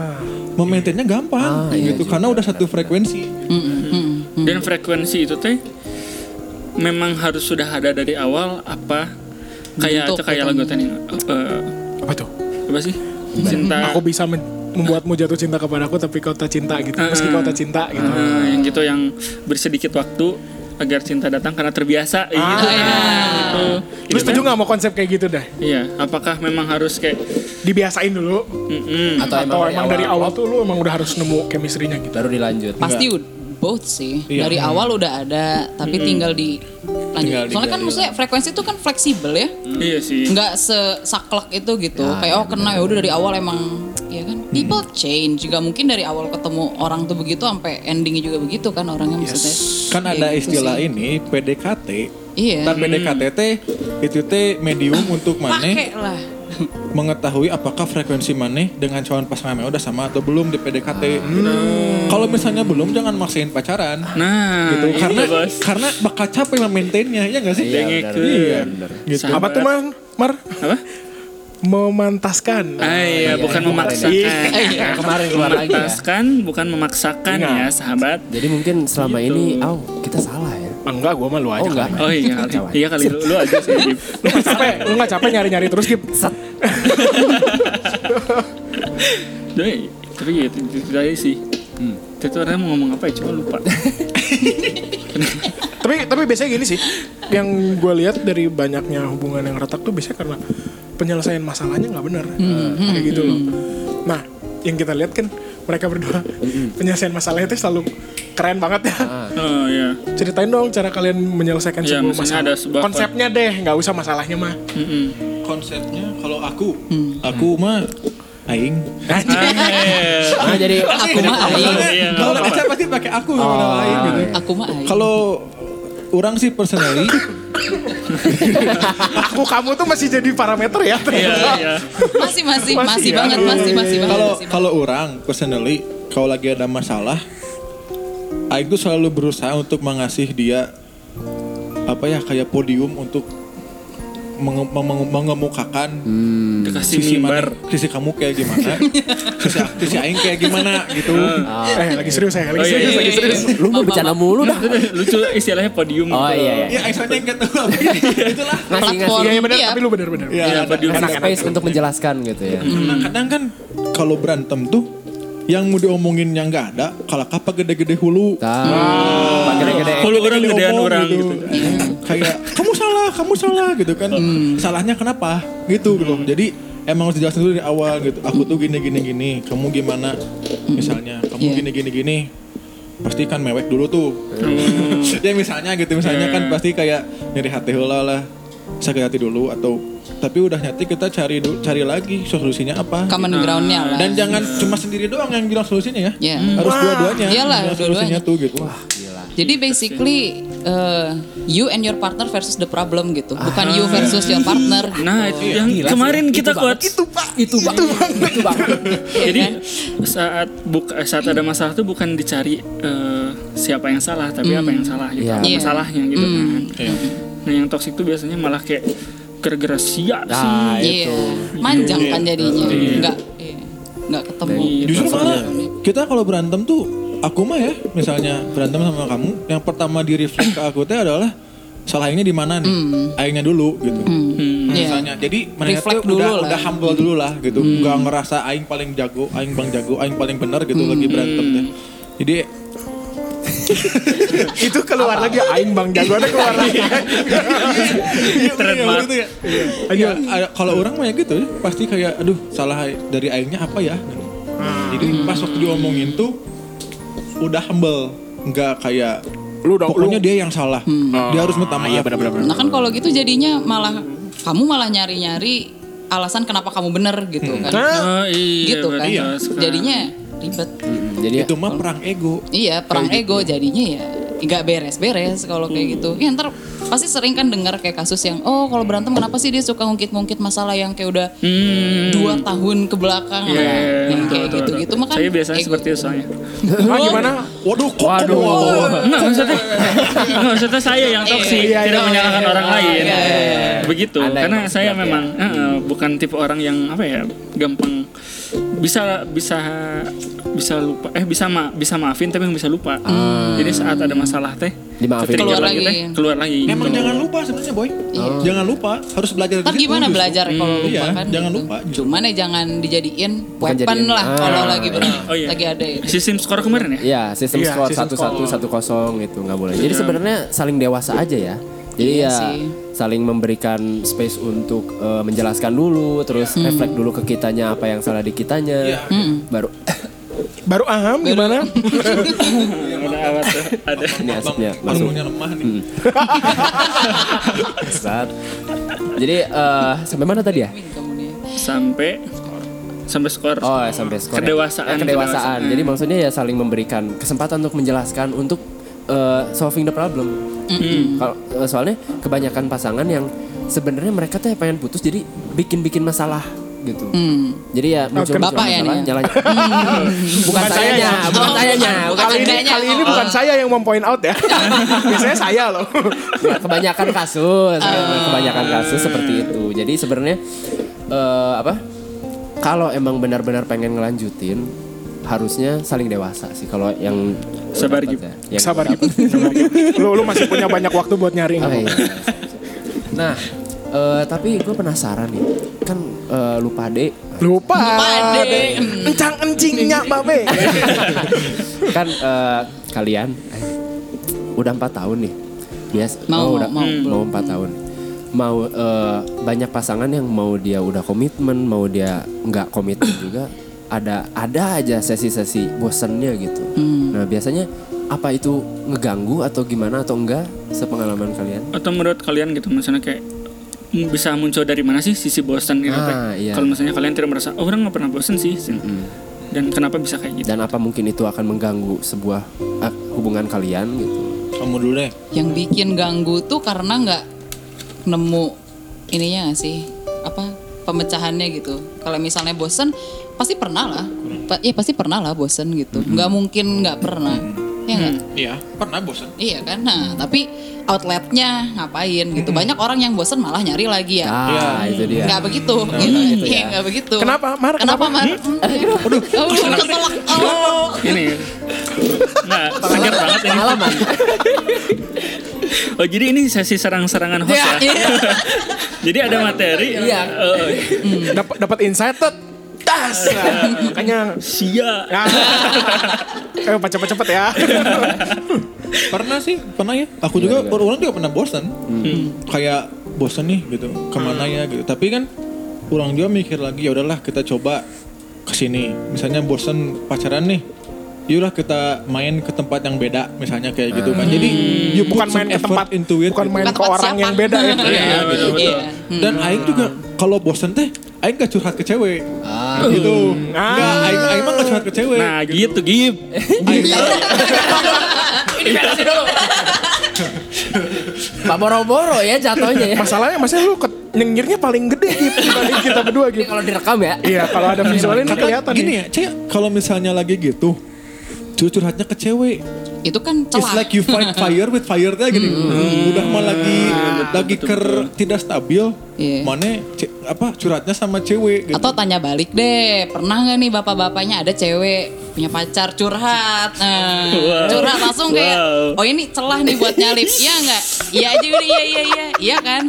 Speaker 5: memaintainnya gampang
Speaker 1: Ah, iya
Speaker 5: gitu, karena udah satu frekuensi.
Speaker 2: Dan frekuensi itu teh memang harus sudah ada dari awal apa kayak
Speaker 4: Bentuk
Speaker 2: itu kayak lagu tadi eh,
Speaker 3: apa tuh
Speaker 2: apa sih cinta
Speaker 3: aku bisa men- membuatmu jatuh cinta kepadaku tapi kau tak cinta gitu meski kau tak cinta gitu
Speaker 2: eh, yang gitu yang bersedikit waktu agar cinta datang karena terbiasa ya gitu. Gitu.
Speaker 3: lu setuju nggak mau konsep kayak gitu dah
Speaker 2: Iya, apakah memang harus kayak
Speaker 3: dibiasain dulu
Speaker 2: mm-mm.
Speaker 1: Atau emang,
Speaker 3: atau emang dari awal tuh lu emang udah harus nemu chemistry-nya gitu
Speaker 1: baru dilanjut. Iya,
Speaker 4: Pasti ud- both sih. Dari awal udah ada, tapi tinggal di
Speaker 5: Iya. Tinggal
Speaker 4: lanjut. Soalnya kan
Speaker 5: digali.
Speaker 4: maksudnya frekuensi itu kan fleksibel ya.
Speaker 2: iya sih.
Speaker 4: Nggak sesaklek itu gitu. Kayak oh kena ya udah dari awal emang ya kan people change juga mungkin dari awal ketemu orang tuh begitu sampai endingnya juga begitu kan orangnya maksudnya.
Speaker 5: Kan
Speaker 4: Ya
Speaker 2: Iya,
Speaker 5: ada
Speaker 4: gitu
Speaker 5: istilah
Speaker 4: sih.
Speaker 5: ini PDKT.
Speaker 4: Iya.
Speaker 5: Ntar PDKT teh itu teh medium untuk
Speaker 4: Pakai
Speaker 5: mana
Speaker 4: lah.
Speaker 5: mengetahui apakah frekuensi mana dengan calon pasangan mana udah sama atau belum di PDKT.
Speaker 2: Ah.
Speaker 5: Hmm. Kalau misalnya belum jangan maksain pacaran.
Speaker 2: Nah,
Speaker 5: gitu
Speaker 2: itu,
Speaker 5: karena
Speaker 2: bos.
Speaker 5: karena bakal capek memaintainnya ya nggak sih
Speaker 1: Iya,
Speaker 5: Dengek.
Speaker 1: benar,
Speaker 5: iya
Speaker 1: benar.
Speaker 5: gitu
Speaker 2: Sama.
Speaker 3: apa tuh mar mar
Speaker 2: Apa?
Speaker 3: memantaskan.
Speaker 2: Ah, iya, bukan memaksakan.
Speaker 1: Yang kemarin keluar lagi ya.
Speaker 2: Memantaskan, bukan memaksakan
Speaker 3: Iya.
Speaker 2: ya, sahabat.
Speaker 1: Jadi mungkin selama ini, aw kita salah ya.
Speaker 3: Enggak, gua mah lu aja.
Speaker 1: Oh enggak.
Speaker 2: Oh iya kali, iya kali lu, lu aja sih. Dip.
Speaker 3: Lu gak capek, lu gak capek nyari-nyari terus Gip.
Speaker 2: Doi, tapi gitu gitu aja sih. Tadi tuh orangnya mau ngomong apa ya, cuma lupa.
Speaker 3: Tapi tapi biasanya gini sih. Yang gua lihat dari banyaknya hubungan yang retak tuh biasanya karena penyelesaian masalahnya nggak benar.
Speaker 2: Hmm,
Speaker 3: Kayak gitu loh. Nah, yang kita lihat kan mereka berdua penyelesaian masalahnya itu selalu keren banget ya.
Speaker 2: Oh iya.
Speaker 3: Ceritain dong cara kalian menyelesaikan
Speaker 2: Iya,
Speaker 3: sebuah
Speaker 2: misalnya
Speaker 3: masalah.
Speaker 2: ada sebuah Hmm. kon-
Speaker 3: Konsepnya deh, nggak usah masalahnya mah.
Speaker 2: Mm-mm.
Speaker 5: konsepnya kalau aku
Speaker 2: Hmm.
Speaker 5: aku mah aing
Speaker 2: Ah.
Speaker 1: Nah, jadi
Speaker 4: Aku mah aing.
Speaker 2: Iya, Ah. nggak
Speaker 5: kalau pacar pasti pakai aku nggak pernah aing gitu
Speaker 4: Aku mah aing.
Speaker 5: kalau orang sih personally
Speaker 3: Aku kamu tuh masih jadi parameter ya.
Speaker 2: Iya, iya.
Speaker 4: masih masih
Speaker 3: Masih
Speaker 4: masih
Speaker 3: ya?
Speaker 4: banget masih masih banget.
Speaker 5: kalau
Speaker 4: Iya, masih
Speaker 5: kalau orang personally kalau lagi ada masalah aing tuh selalu berusaha untuk mengasih dia apa ya kayak podium untuk menge- menge- mengemukakan
Speaker 2: Dikasih
Speaker 5: sisi mana,
Speaker 2: Hmm. mimbar.
Speaker 5: sisi kamu kayak gimana, sisi, sisi aing kayak gimana gitu.
Speaker 3: <laughs>
Speaker 2: Ah.
Speaker 3: Eh, lagi serius saya, lagi
Speaker 2: Oh, iya,
Speaker 3: serius,
Speaker 2: iya,
Speaker 3: lagi
Speaker 2: iya,
Speaker 3: serius.
Speaker 1: lu mau bercanda mulu dah.
Speaker 2: Lucu istilahnya podium.
Speaker 1: Oh
Speaker 2: gitu.
Speaker 1: iya iya.
Speaker 5: Ya aing soalnya nggak tahu apa <laughs> ini. Itulah.
Speaker 1: Ngasih ngasih
Speaker 4: Platform.
Speaker 3: Iya, iya benar,
Speaker 4: Iya.
Speaker 3: tapi lu benar-benar.
Speaker 5: Ya,
Speaker 2: Iya,
Speaker 5: ada-
Speaker 2: podium.
Speaker 1: space untuk menjelaskan gitu ya.
Speaker 5: Nah, kadang kan kalau berantem tuh yang mau diomongin yang nggak ada, kalau kapal gede-gede hulu.
Speaker 2: Nah,
Speaker 1: Tahu.
Speaker 2: Hmm.
Speaker 1: Pakai gede.
Speaker 2: Kalau orang
Speaker 5: Gede-gede
Speaker 2: gedean
Speaker 5: omong
Speaker 2: orang gitu.
Speaker 5: <laughs> Kayak kamu salah, kamu salah gitu kan.
Speaker 2: Hmm.
Speaker 5: Salahnya kenapa? Gitu gitu. Jadi emang harus dijelasin dulu dari awal gitu. Aku tuh gini gini gini, kamu gimana?
Speaker 2: Hmm.
Speaker 5: Misalnya kamu
Speaker 4: Iya.
Speaker 5: gini gini gini. Pasti kan mewek dulu tuh.
Speaker 2: Hmm.
Speaker 5: <laughs> ya misalnya gitu, misalnya kan pasti kayak nyeri hati heula lah. Sakit hati dulu atau tapi udah nyati kita cari dulu, cari lagi solusinya apa?
Speaker 4: common groundnya
Speaker 5: Nah,
Speaker 4: lah.
Speaker 5: Dan jangan cuma sendiri doang yang bilang solusinya ya.
Speaker 4: Iya.
Speaker 5: Harus dua-duanya.
Speaker 4: Iyalah,
Speaker 5: bilang solusinya
Speaker 4: dua-duanya.
Speaker 5: tuh gitu.
Speaker 4: Jadi basically uh, you and your partner versus the problem gitu. Bukan you versus your partner.
Speaker 2: Nah, itu yang kemarin kita kuat. Itu Pak. Itu Pak. <laughs> Jadi saat buka saat ada masalah tuh bukan dicari eh, siapa yang salah, tapi apa yang salah gitu.
Speaker 1: Iya.
Speaker 2: Apa
Speaker 4: Iya.
Speaker 2: masalahnya gitu kan.
Speaker 5: Iya.
Speaker 2: Nah, yang toksik tuh biasanya malah kayak gara-gara sia sih.
Speaker 1: Nah,
Speaker 4: Iya.
Speaker 1: itu.
Speaker 4: Manjang kan jadinya. Enggak iya. enggak ketemu.
Speaker 2: Iya,
Speaker 5: Justru
Speaker 2: maksudnya.
Speaker 5: malah
Speaker 4: gitu.
Speaker 5: kita kalau berantem tuh aku mah ya misalnya berantem sama kamu yang pertama di reflect ke aku teh adalah salah aingnya di mana nih? Aingnya dulu gitu.
Speaker 4: Hmm. Iya.
Speaker 5: Misalnya. Jadi mereka
Speaker 4: Reflect
Speaker 5: tuh udah,
Speaker 4: dulu lah. Hmm.
Speaker 5: udah humble dulu lah gitu. Enggak ngerasa aing paling jago, aing bang jago, aing paling benar gitu
Speaker 4: Hmm,
Speaker 5: lagi berantem teh. Jadi
Speaker 3: Itu keluar lagi aing Bang Jago ada keluar
Speaker 2: <laughs>
Speaker 3: lagi.
Speaker 5: Iya, bener ya,
Speaker 2: Trademark.
Speaker 5: begitu ya. Iya, ada- kalau orang mah ya gitu ya, pasti kayak aduh salah dari airnya apa ya. Jadi pas waktu diomongin tuh udah humble, nggak kayak
Speaker 3: Lu Hmm. udah-
Speaker 5: pokoknya dia yang salah. Dia harus minta maaf. Iya
Speaker 4: Nah kan kalau gitu jadinya malah kamu malah nyari-nyari alasan kenapa kamu bener gitu kan.
Speaker 2: Oh, iya,
Speaker 4: gitu kan.
Speaker 2: benar sekali.
Speaker 4: Jadinya ribet.
Speaker 1: Hmm, Jadi
Speaker 5: Itu mah perang ego.
Speaker 4: Iya, perang ego
Speaker 2: gitu.
Speaker 4: jadinya ya nggak beres-beres kalau
Speaker 2: Hmm.
Speaker 4: kayak gitu. Ya ntar pasti sering kan dengar kayak kasus yang oh kalau berantem kenapa sih dia suka ngungkit-ngungkit masalah yang kayak udah
Speaker 2: Hmm.
Speaker 4: dua tahun ke belakang
Speaker 2: Iya, iya, iya.
Speaker 4: yang
Speaker 2: Betul,
Speaker 4: kayak
Speaker 2: betul,
Speaker 4: gitu-gitu kan
Speaker 2: betul.
Speaker 4: makan
Speaker 2: Saya biasanya seperti
Speaker 4: gitu.
Speaker 2: itu soalnya. <laughs>
Speaker 3: Ah gimana?
Speaker 5: Waduh, kok
Speaker 1: Waduh.
Speaker 2: Enggak maksudnya, enggak maksudnya saya yang toksik,
Speaker 3: Iya, iya,
Speaker 2: tidak
Speaker 3: iya,
Speaker 2: menyalahkan
Speaker 3: iya,
Speaker 2: orang
Speaker 4: iya,
Speaker 2: lain.
Speaker 4: iya,
Speaker 2: Begitu,
Speaker 1: Anda yang
Speaker 2: karena
Speaker 1: toksik
Speaker 2: saya
Speaker 1: berarti ya.
Speaker 2: memang eh, eh, bukan tipe orang yang apa ya, gampang bisa bisa bisa lupa eh bisa ma bisa maafin tapi nggak bisa lupa. Jadi saat ada masalah teh
Speaker 1: Dimaafin.
Speaker 2: ketrigger
Speaker 4: Keluar lagi.
Speaker 2: teh, keluar lagi.
Speaker 5: Emang
Speaker 2: Gitu.
Speaker 5: jangan lupa sebenarnya boy.
Speaker 3: Iya.
Speaker 5: Jangan lupa harus belajar gitu.
Speaker 4: Ntar
Speaker 5: dari situ
Speaker 4: gimana
Speaker 5: justru.
Speaker 4: belajar kalau
Speaker 5: Hmm,
Speaker 4: lupa
Speaker 5: iya,
Speaker 4: kan
Speaker 5: jangan
Speaker 4: gitu.
Speaker 5: lupa justru.
Speaker 4: Cuman ya jangan dijadiin
Speaker 1: Bukan
Speaker 4: weapon
Speaker 1: jadiin.
Speaker 4: lah kalau
Speaker 1: Ah,
Speaker 4: lagi ber
Speaker 2: Oh iya.
Speaker 4: lagi ada itu.
Speaker 2: Sistem skor kemarin ya? <laughs>
Speaker 1: Iya, sistem
Speaker 3: Iya,
Speaker 1: skor
Speaker 3: sistem
Speaker 1: satu satu satu kosong gitu nggak boleh.
Speaker 2: Iya.
Speaker 1: Jadi sebenarnya saling dewasa aja ya. Jadi
Speaker 4: Iya
Speaker 1: ya
Speaker 4: sih.
Speaker 1: saling memberikan space untuk eh, menjelaskan dulu, terus
Speaker 4: Hmm.
Speaker 1: reflect dulu ke kitanya apa yang salah di
Speaker 2: Iya.
Speaker 1: kitanya,
Speaker 2: <laughs>
Speaker 1: baru
Speaker 3: Baru aham gimana?
Speaker 2: Ada awat tuh, ada.
Speaker 5: Iya,
Speaker 1: ini asapnya
Speaker 5: Bang,
Speaker 1: masuk.
Speaker 5: ilmunya lemah nih.
Speaker 1: Saat. Jadi eh, sampai mana tadi ya?
Speaker 4: Kemudian.
Speaker 2: Sampai sampai skor.
Speaker 1: Oh ya, sampai skor. ya.
Speaker 2: Kedewasaan,
Speaker 1: Ya, kedewasaan.
Speaker 2: kedewasaan.
Speaker 1: Jadi maksudnya ya saling memberikan kesempatan untuk menjelaskan untuk eh, solving the problem. Kalau eh, soalnya kebanyakan pasangan yang sebenarnya mereka tuh pengen putus jadi bikin-bikin masalah gitu. Jadi ya muncul
Speaker 4: Bapak ya
Speaker 1: masalah
Speaker 4: nih ya?
Speaker 1: nyala. bukan sayanya, bukan
Speaker 4: Oh,
Speaker 1: sayanya.
Speaker 3: <laughs>
Speaker 4: bukan Oh.
Speaker 3: Kali ini
Speaker 4: Andanya.
Speaker 3: kali ini bukan saya yang mempoint out <laughs> ya. Biasanya saya loh.
Speaker 1: Ya, kebanyakan kasus, kebanyakan kasus seperti itu. Jadi sebenarnya eh, apa? Kalau emang benar-benar pengen ngelanjutin, harusnya saling dewasa sih kalau yang
Speaker 2: Sabar,
Speaker 1: dapat
Speaker 2: Gip.
Speaker 1: ya. Yang
Speaker 3: <laughs> Sabar
Speaker 1: dapat.
Speaker 3: gitu. Oh, lu lu masih punya banyak waktu buat nyari nggak
Speaker 1: Ah,
Speaker 3: apa-apa.
Speaker 1: iya. Nah, eh, tapi gue penasaran nih. Kan eh, lu
Speaker 2: <laughs>
Speaker 1: pade
Speaker 3: Lupa.
Speaker 4: Lupa,
Speaker 3: deh.
Speaker 4: deh.
Speaker 3: Encang encingnya <laughs> babe.
Speaker 1: kan eh, kalian eh, udah empat tahun nih. Bias,
Speaker 4: Mau,
Speaker 1: oh, udah,
Speaker 4: mau,
Speaker 2: Hmm.
Speaker 4: mau.
Speaker 1: mau empat tahun. Mau eh, banyak pasangan yang mau dia udah komitmen, mau dia nggak komitmen juga. Ada ada aja sesi-sesi bosennya gitu.
Speaker 4: Hmm.
Speaker 1: Nah biasanya apa itu ngeganggu atau gimana atau enggak sepengalaman kalian?
Speaker 2: atau menurut kalian gitu misalnya kayak m- bisa muncul dari mana sih sisi bosan gitu
Speaker 1: Ah,
Speaker 2: Pak?
Speaker 1: iya.
Speaker 2: kalau misalnya kalian tidak merasa oh orang nggak pernah bosan sih dan kenapa bisa kayak gitu
Speaker 1: Dan apa mungkin itu akan mengganggu sebuah eh, hubungan kalian gitu?
Speaker 5: Kamu dulu deh.
Speaker 4: Yang bikin ganggu tuh karena nggak nemu ininya nggak sih apa pemecahannya gitu. Kalau misalnya bosen pasti pernah lah. Pa- ya pasti pernah lah bosen gitu. Nggak mungkin nggak pernah. Ya nggak?
Speaker 5: Iya, pernah bosan.
Speaker 4: Iya kan. Nah, tapi outletnya ngapain gitu. Banyak orang yang bosen malah nyari lagi ya.
Speaker 3: Nah,
Speaker 1: Ah, itu dia.
Speaker 4: Nggak begitu, gitu. Iya, nggak begitu.
Speaker 3: Kenapa, Mar? Kenapa?
Speaker 4: Kenapa,
Speaker 3: Hmm?
Speaker 4: Mar? <laughs> Aduh, keselak. Oh.
Speaker 2: ini nah segar banget ini
Speaker 1: Pengalaman.
Speaker 2: oh jadi ini sesi serang-serangan host ya,
Speaker 4: Iya.
Speaker 2: <laughs> jadi ada materi
Speaker 1: Iya.
Speaker 2: eh,
Speaker 3: Dapat dapat insight tuh. Tas. Makanya
Speaker 2: sia
Speaker 3: <laughs> Ya. Eh, cepet-cepet <laughs> ya.
Speaker 5: Pernah sih, pernah ya. Aku juga orang juga pernah bosan.
Speaker 3: Hmm.
Speaker 5: Kayak bosan nih gitu. Kemana ya gitu. Tapi kan orang juga mikir lagi ya udahlah kita coba ke sini. Misalnya bosan pacaran nih. Yaudah kita main ke tempat yang beda misalnya kayak gitu kan. Jadi you
Speaker 3: Hmm.
Speaker 5: put
Speaker 3: Bukan
Speaker 5: some
Speaker 3: main ke
Speaker 5: effort
Speaker 3: tempat,
Speaker 5: into it.
Speaker 3: bukan
Speaker 5: gitu.
Speaker 3: main Hmm.
Speaker 4: Bukan
Speaker 3: ke
Speaker 4: tempat
Speaker 3: orang
Speaker 4: siapa.
Speaker 3: yang beda <laughs> ya.
Speaker 2: Iya, betul-betul.
Speaker 4: Iya.
Speaker 5: Dan Aing juga kalau bosen teh Aing gak curhat ke cewek ah. gitu
Speaker 3: Ah.
Speaker 5: Enggak, Aing, Aing mah gak curhat ke cewek
Speaker 2: nah gitu gib
Speaker 5: Aing,
Speaker 1: Pak Boro-boro ya jatuhnya ya.
Speaker 3: Masalahnya masih lu ke- nyengirnya paling gede gitu dibanding kita berdua
Speaker 1: Ini
Speaker 3: gitu.
Speaker 1: <laughs> kalau direkam ya.
Speaker 3: Iya, kalau ada visualnya ini
Speaker 5: karena
Speaker 3: kelihatan
Speaker 5: gini
Speaker 3: nih.
Speaker 5: ya cewek kalau misalnya lagi gitu cur- curhatnya ke cewek
Speaker 4: Itu kan
Speaker 5: it's
Speaker 4: celah.
Speaker 5: like you
Speaker 4: <laughs>
Speaker 5: fight fire with fire teh gini
Speaker 4: Hmm.
Speaker 5: udah mah lagi lagi ker tidak stabil
Speaker 4: Iya.
Speaker 5: mana ce- apa curhatnya sama cewek gitu
Speaker 4: Atau tanya balik deh, pernah nggak nih bapak-bapaknya ada cewek punya pacar curhat, Nah,
Speaker 2: Wow.
Speaker 4: curhat langsung kayak,
Speaker 2: Wow.
Speaker 4: oh ini celah nih buat nyalip, iya nggak? Iya aja udah, iya iya iya, iya kan?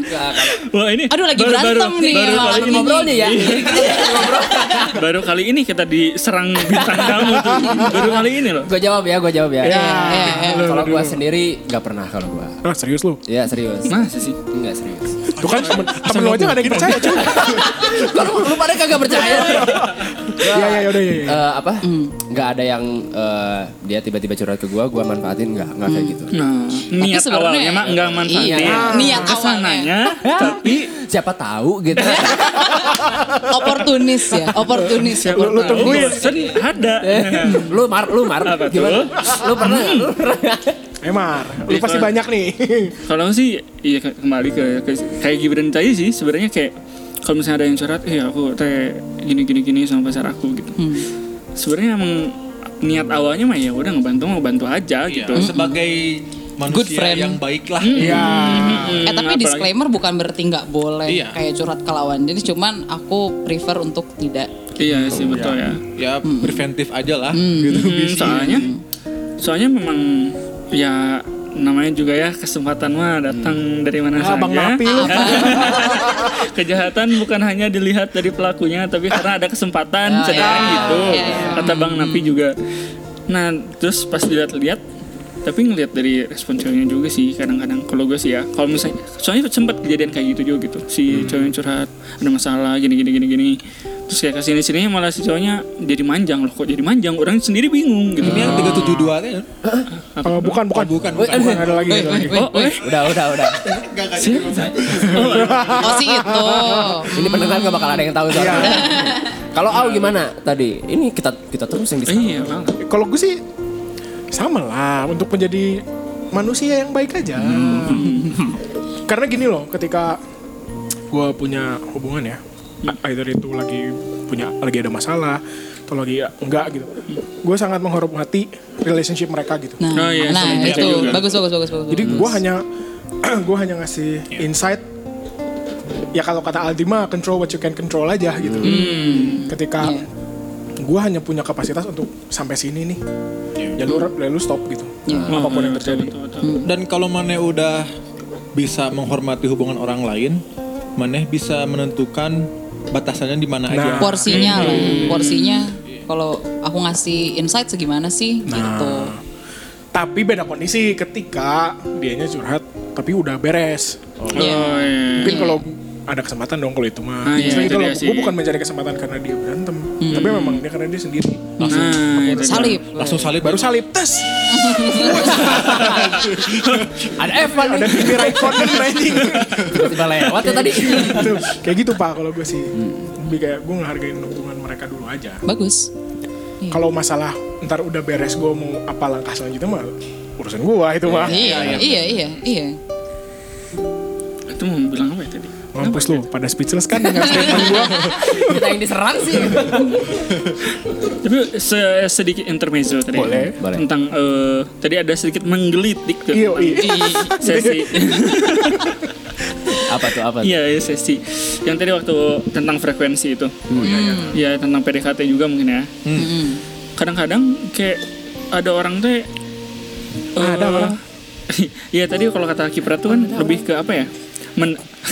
Speaker 2: wah ini
Speaker 4: Aduh lagi
Speaker 2: baru,
Speaker 4: berantem
Speaker 2: baru,
Speaker 4: nih,
Speaker 2: baru
Speaker 4: sama Iya.
Speaker 2: kali ini
Speaker 4: anak
Speaker 2: Iya.
Speaker 4: ngobrol
Speaker 1: Ngobrolnya ya.
Speaker 2: baru kali ini kita diserang bintang tamu tuh baru kali ini loh
Speaker 1: Gue jawab ya, gue jawab ya.
Speaker 3: Ya.
Speaker 4: Iya, iya.
Speaker 1: Kalau gue sendiri nggak pernah kalau gue.
Speaker 3: Ah, serius lu?
Speaker 1: Ya serius.
Speaker 2: Masa sih?
Speaker 1: Enggak <laughs> serius.
Speaker 3: Tuh kan temen, temen lu aja gak ada yang percaya cuy.
Speaker 1: Lu, lu pada kagak percaya.
Speaker 3: <laughs> Iya, iya, udah, iya. iya.
Speaker 1: <laughs> Eh, apa? Nggak ada yang eh, dia tiba-tiba curhat ke gue, gue manfaatin nggak, nggak kayak gitu.
Speaker 2: Nah, niat
Speaker 4: sebenarnya-
Speaker 2: awalnya mah enggak manfaatin.
Speaker 4: Iya, niat awalnya.
Speaker 2: Kesananya, tapi
Speaker 1: Siapa tahu <laughs> gitu.
Speaker 4: Oportunis ya, oportunis.
Speaker 2: siapa
Speaker 3: Lu- lu
Speaker 2: tahu
Speaker 3: tungguin.
Speaker 2: bosen ada.
Speaker 1: Eh, lu mar, lu mar.
Speaker 2: Apa tuh?
Speaker 1: Gimana? Lu pernah nggak? Lu pernah <laughs> nggak?
Speaker 3: Eh, Mar, lu pasti
Speaker 2: Iya.
Speaker 3: banyak nih.
Speaker 2: Kalau sih, iya ke- kembali ke, ke- kayak Gibran tadi sih. Sebenarnya kayak kalau misalnya ada yang curhat, eh aku teh gini gini gini sama pacar aku gitu. Sebenarnya emang niat awalnya mah ya udah ngebantu mau bantu aja
Speaker 5: Iya,
Speaker 2: gitu.
Speaker 5: sebagai manusia
Speaker 4: Hmm. Good friend. Hmm.
Speaker 5: yang baik lah
Speaker 3: Iya.
Speaker 2: Mm,
Speaker 4: Eh tapi
Speaker 2: apalagi-
Speaker 4: disclaimer bukan berarti nggak boleh
Speaker 5: Iya.
Speaker 4: kayak curhat ke lawan jenis, cuman aku prefer untuk tidak.
Speaker 2: Iya sih betul ya.
Speaker 5: ya
Speaker 4: Hmm.
Speaker 5: preventif aja lah gitu
Speaker 2: Hmm, soalnya, soalnya memang ya namanya juga ya kesempatan mah datang dari
Speaker 3: <laughs>
Speaker 2: mana
Speaker 3: Ah,
Speaker 2: saja.
Speaker 3: Bang Napi lu.
Speaker 2: <laughs> Kejahatan bukan hanya dilihat dari pelakunya, tapi karena ada
Speaker 3: Ya,
Speaker 2: kesempatan, cederaan gitu.
Speaker 4: iya, iya.
Speaker 2: Kata
Speaker 3: Hmm.
Speaker 2: Bang Napi juga. Nah, terus pas dilihat-lihat, tapi ngelihat dari respon ceweknya juga sih kadang-kadang kalau gue sih ya kalau misalnya soalnya sempat kejadian kayak gitu juga gitu
Speaker 3: Hmm.
Speaker 2: si ceweknya curhat ada masalah gini gini gini gini terus kayak kesini sini malah si cowoknya jadi manjang loh kok jadi manjang orang sendiri bingung gitu
Speaker 3: Hmm.
Speaker 5: ini
Speaker 4: Ah.
Speaker 5: yang 372 teh
Speaker 3: Eh,
Speaker 5: kan?
Speaker 3: bukan, bukan.
Speaker 5: bukan bukan
Speaker 3: Bukan, ada lagi. ada lagi.
Speaker 2: oh eh
Speaker 1: Udah, udah, udah.
Speaker 4: Oh sih itu.
Speaker 1: Ini pendengar nggak bakal ada yang tahu soalnya.
Speaker 3: Iya.
Speaker 1: Kalau Au gimana tadi? Ini kita kita terus yang di
Speaker 2: Eh, iya bang
Speaker 3: Kalau gue sih sama lah untuk menjadi manusia yang baik aja. Hmm. Karena gini loh, ketika gue punya hubungan ya, either itu lagi punya lagi ada masalah atau lagi enggak gitu, gue sangat menghormati relationship mereka gitu.
Speaker 4: Nah,
Speaker 2: Oh, iya,
Speaker 4: nah
Speaker 2: sama cewek
Speaker 4: itu
Speaker 2: juga. Hmm.
Speaker 3: <clears throat>
Speaker 4: bagus bagus bagus bagus.
Speaker 3: Jadi gue hanya gue hanya ngasih insight ya kalau kata Aldi mah control what you can control aja gitu.
Speaker 2: Hmm.
Speaker 3: Ketika
Speaker 4: Iya.
Speaker 3: gue hanya punya kapasitas untuk sampai sini nih, ya lu, ya lu stop gitu.
Speaker 4: Iya.
Speaker 3: Apapun yang terjadi.
Speaker 5: Dan kalau Mane udah bisa menghormati hubungan orang lain, Mane bisa menentukan batasannya di mana aja.
Speaker 4: Nah. porsinya lah ya. porsinya kalau aku ngasih insight segimana sih gitu
Speaker 3: Tapi beda kondisi ketika dianya curhat tapi udah beres.
Speaker 4: Iya.
Speaker 2: Oh, iya.
Speaker 3: Mungkin kalau ada kesempatan dong kalau itu mah.
Speaker 2: Ah, iya,
Speaker 3: Misalnya
Speaker 2: itu
Speaker 3: kalau
Speaker 2: dia sih. Hmm.
Speaker 3: gue bukan mencari kesempatan karena dia berantem, tapi memang dia karena dia sendiri.
Speaker 2: Nah, itu dia.
Speaker 4: Hmm. salib
Speaker 5: Langsung salib
Speaker 3: Baru salib tes.
Speaker 1: Ada Evan
Speaker 3: Ada TV recorder anjing.
Speaker 2: <laughs>
Speaker 1: tiba lewat ya tadi.
Speaker 3: Tuh, kayak gitu pak kalau gue sih lebih kayak gue ngehargain hubungan mereka dulu aja
Speaker 4: bagus
Speaker 3: kalau masalah ntar udah beres gue mau apa langkah selanjutnya mah urusan gue itu mah
Speaker 4: iya, iya iya iya
Speaker 2: Itu mau bilang apa ya tadi?
Speaker 3: mampus lu pada speechless kan dengan statement <laughs> gue
Speaker 1: Kita yang diserang sih.
Speaker 2: Tapi se- sedikit intermezzo tadi.
Speaker 3: Boleh.
Speaker 1: Boleh.
Speaker 2: Tentang eh, tadi ada sedikit menggelitik tuh.
Speaker 3: iya iya
Speaker 2: tentang <laughs> Sesi.
Speaker 1: Apa tuh apa?
Speaker 2: Iya, iya, sesi. Yang tadi waktu tentang frekuensi itu.
Speaker 3: Hmm.
Speaker 2: Iya, tentang PDKT juga mungkin ya.
Speaker 4: Mm-mm.
Speaker 2: Kadang-kadang kayak ada orang tuh
Speaker 3: Ah, Ada
Speaker 2: eh,
Speaker 3: orang.
Speaker 2: <laughs> Iya, tadi kalau kata Kipra tuh kan lebih ke apa ya? Men <laughs>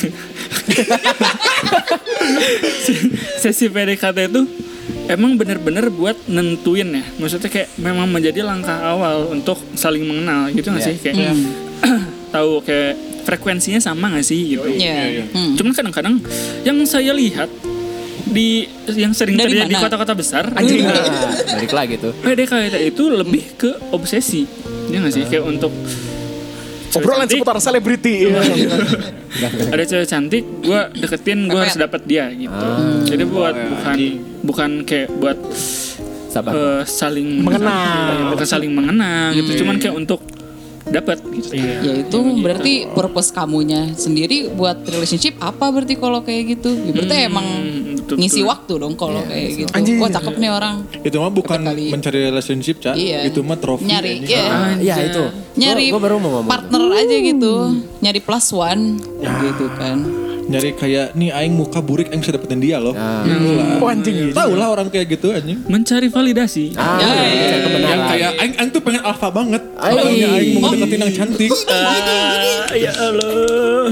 Speaker 2: sesi PDKT itu emang bener-bener buat nentuin ya maksudnya kayak memang menjadi langkah awal untuk saling mengenal gitu nggak
Speaker 1: Iya.
Speaker 2: sih kayak
Speaker 3: Hmm.
Speaker 2: <clears throat> tahu kayak frekuensinya sama nggak sih gitu
Speaker 4: iya Mm.
Speaker 2: cuman kadang-kadang yang saya lihat di yang sering
Speaker 4: Dari
Speaker 2: terjadi di
Speaker 4: mana?
Speaker 2: kota-kota besar Hmm.
Speaker 3: anjing
Speaker 1: Nah, balik lagi tuh.
Speaker 2: PDKT itu lebih ke obsesi ya nggak sih kayak untuk cewek
Speaker 3: obrolan
Speaker 2: cantik,
Speaker 3: seputar selebriti
Speaker 2: ada cewek cantik gue deketin gue harus dapat dia gitu
Speaker 3: Ah,
Speaker 2: jadi buat bukan bukan kayak buat
Speaker 1: Sabar.
Speaker 2: eh, saling
Speaker 3: Mengenal.
Speaker 2: bukan saling mengenang
Speaker 3: Hmm.
Speaker 2: gitu cuman kayak untuk dapat gitu
Speaker 3: Iya.
Speaker 4: ya itu berarti purpose kamunya sendiri buat relationship apa berarti kalau kayak gitu Ya, berarti emang
Speaker 2: betul,
Speaker 4: ngisi
Speaker 2: betul.
Speaker 4: waktu dong kalau kayak gitu
Speaker 3: Anjing.
Speaker 4: wah cakep nih orang
Speaker 5: Itu mah bukan
Speaker 4: Betul kali.
Speaker 5: mencari relationship, Cak.
Speaker 4: Iya.
Speaker 5: Iya. Itu mah trofi.
Speaker 4: Nyari,
Speaker 5: anjing.
Speaker 4: iya.
Speaker 1: Ah, Iya itu.
Speaker 4: nyari
Speaker 1: Gua, gua baru mau ngomong. tuh.
Speaker 4: partner aja gitu nyari plus one gitu kan
Speaker 5: Nyari kayak nih aing muka burik aing bisa dapetin dia loh.
Speaker 1: Nah.
Speaker 5: Gitu lah.
Speaker 3: oh anjing
Speaker 5: Tahu lah orang kayak gitu anjing.
Speaker 2: mencari validasi
Speaker 1: Ah, iya,
Speaker 4: Ya, iya,
Speaker 1: iya, kebenaran.
Speaker 5: Yang kayak aing aing tuh pengen alfa banget.
Speaker 1: Ay.
Speaker 5: Makanya aing mau deketin yang
Speaker 1: <laughs>
Speaker 5: cantik.
Speaker 2: Ah, ya Allah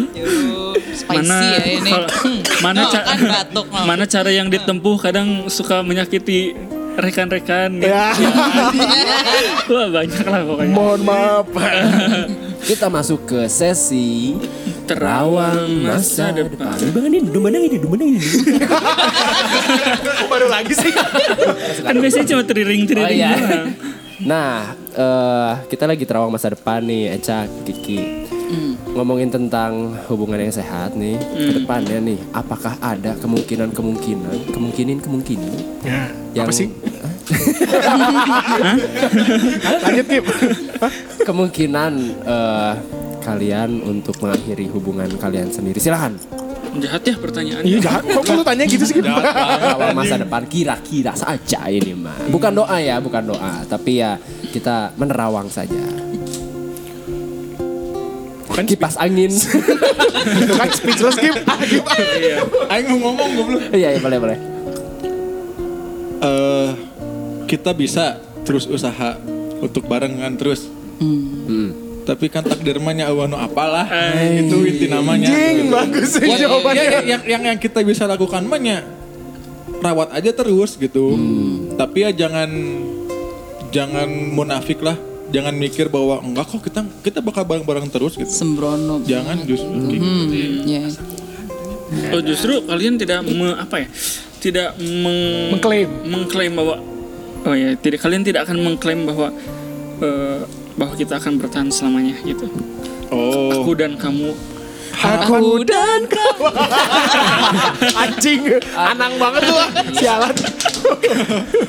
Speaker 4: spicy
Speaker 2: mana
Speaker 4: ya ini
Speaker 2: <clears throat> kalau- mana
Speaker 4: Oh,
Speaker 2: ca-
Speaker 4: kan batuk mau.
Speaker 2: mana cara yang ditempuh kadang suka menyakiti rekan-rekan gitu.
Speaker 3: ya
Speaker 2: Wah, banyak lah pokoknya
Speaker 3: mohon maaf
Speaker 1: Kita masuk ke sesi
Speaker 2: Terawang masa depan.
Speaker 1: Dumbangan ini, dumbangan ini, dumbangan ini.
Speaker 3: Kok baru lagi sih
Speaker 2: kan biasanya cuma teriring
Speaker 1: Oh,
Speaker 2: teriring
Speaker 1: iya.
Speaker 2: doang.
Speaker 1: Nah, eh, kita lagi terawang masa depan nih, Eca, Kiki. Ngomongin tentang hubungan yang sehat nih, ke depannya nih, apakah ada kemungkinan-kemungkinan, kemungkinan-kemungkinan
Speaker 3: ya,
Speaker 1: yang
Speaker 3: apa sih lanjut Kip Hah?
Speaker 1: kemungkinan eh, kalian untuk mengakhiri hubungan kalian sendiri. Silahkan.
Speaker 2: <laughs> jahat ya pertanyaannya
Speaker 3: iya jahat kok lu tanya gitu sih Kip
Speaker 1: Terawang masa depan kira-kira saja ini mah. Bukan doa ya, bukan doa, tapi ya kita menerawang saja.
Speaker 3: Bukan
Speaker 1: Kipas angin. <laughs>
Speaker 3: itu kan speechless Kip Ah, Kip ah.
Speaker 5: Aing mau ngomong goblok.
Speaker 1: Iya, iya, boleh, boleh.
Speaker 5: Eh kita bisa terus usaha untuk barengan terus.
Speaker 1: Hmm.
Speaker 5: Tapi kan takdir mah nyawa nu apalah. Itu inti namanya. Gitu.
Speaker 3: anjing bagus sih
Speaker 5: Buat-
Speaker 3: jawabannya
Speaker 5: ya, ya, yang, yang yang kita bisa lakukan mah ya rawat aja terus gitu. Tapi ya jangan jangan munafik lah. Jangan mikir bahwa enggak kok kita kita bakal bareng-bareng terus gitu.
Speaker 4: sembrono
Speaker 2: Iya.
Speaker 5: Jangan justru gitu.
Speaker 4: Hmm, ya.
Speaker 2: oh justru kalian tidak me- apa ya tidak meng-
Speaker 3: Mengklaim.
Speaker 2: mengklaim bahwa oh ya tidak kalian tidak akan mengklaim bahwa eh, bahwa kita akan bertahan selamanya gitu
Speaker 5: Oh.
Speaker 2: aku dan kamu
Speaker 3: Aku dan kau Anjing Anang banget tuh ah. Sialan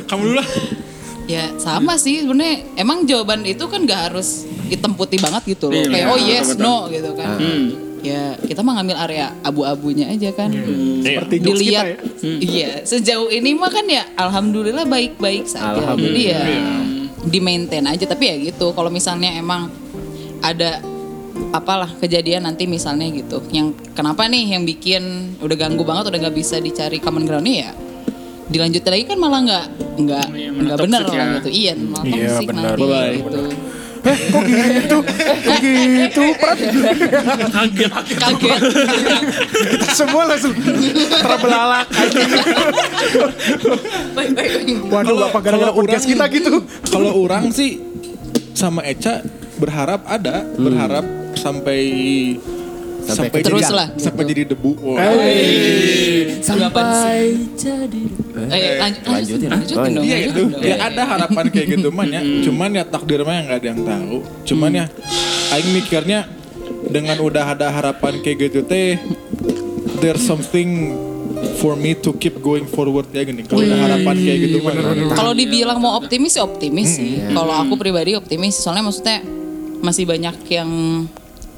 Speaker 5: Kamu dulu lah.
Speaker 4: Ya sama sih sebenarnya emang jawaban itu kan gak harus hitam putih banget gitu loh.
Speaker 2: Iya, Hmm.
Speaker 4: Kayak
Speaker 2: iya,
Speaker 4: oh yes
Speaker 2: betul-betul.
Speaker 4: no gitu kan. Ya kita mah ngambil area abu-abunya aja kan.
Speaker 2: Iya.
Speaker 3: Seperti jokes kita ya
Speaker 4: Dilihat iya sejauh ini mah kan ya alhamdulillah baik-baik saja. hmm, Jadi ya di maintain aja tapi ya gitu kalau misalnya emang ada apalah kejadian nanti misalnya gitu. Yang kenapa nih yang bikin udah ganggu banget udah nggak bisa dicari common groundnya ya? Dilanjutin lagi kan malah nggak nggak
Speaker 2: Iya, malah
Speaker 4: nggak benar
Speaker 2: toxic
Speaker 4: lah
Speaker 2: ya.
Speaker 4: gitu. Iya, malah
Speaker 5: Iya,
Speaker 4: toxic
Speaker 5: benar,
Speaker 4: nanti
Speaker 5: benar,
Speaker 4: gitu.
Speaker 3: Eh, kok gitu? Kok gitu? Prat,
Speaker 2: kaget
Speaker 4: Kaget.
Speaker 3: kita semua langsung terbelalak.
Speaker 4: Baik, baik, baik.
Speaker 3: Waduh,
Speaker 5: Kalau-
Speaker 3: apa gara-gara
Speaker 5: kalau
Speaker 3: podcast
Speaker 5: orang-
Speaker 3: kita gitu?
Speaker 5: Kalau orang sih sama Eca berharap ada, berharap sampai
Speaker 1: Sampai
Speaker 5: sampai,
Speaker 4: Terus
Speaker 5: jadi,
Speaker 4: lah,
Speaker 5: sampai
Speaker 4: gitu.
Speaker 5: jadi debu. Wah.
Speaker 1: Sampai jadi
Speaker 4: Eh, lanjut, lanjutin,
Speaker 1: lanjutin.
Speaker 4: lanjutin dong.
Speaker 5: Iya gitu.
Speaker 4: lanjutin dong.
Speaker 5: Ya ada harapan kayak gitu man ya. Cuman ya takdir mah yang nggak ada yang tahu. Cuman ya aing mikirnya dengan udah ada harapan kayak gitu teh there's something for me to keep going forward ya gini. Kalau ada harapan kayak gitu mah.
Speaker 4: Kalau dibilang mau optimis sih optimis sih. Kalau aku pribadi optimis, soalnya maksudnya masih banyak yang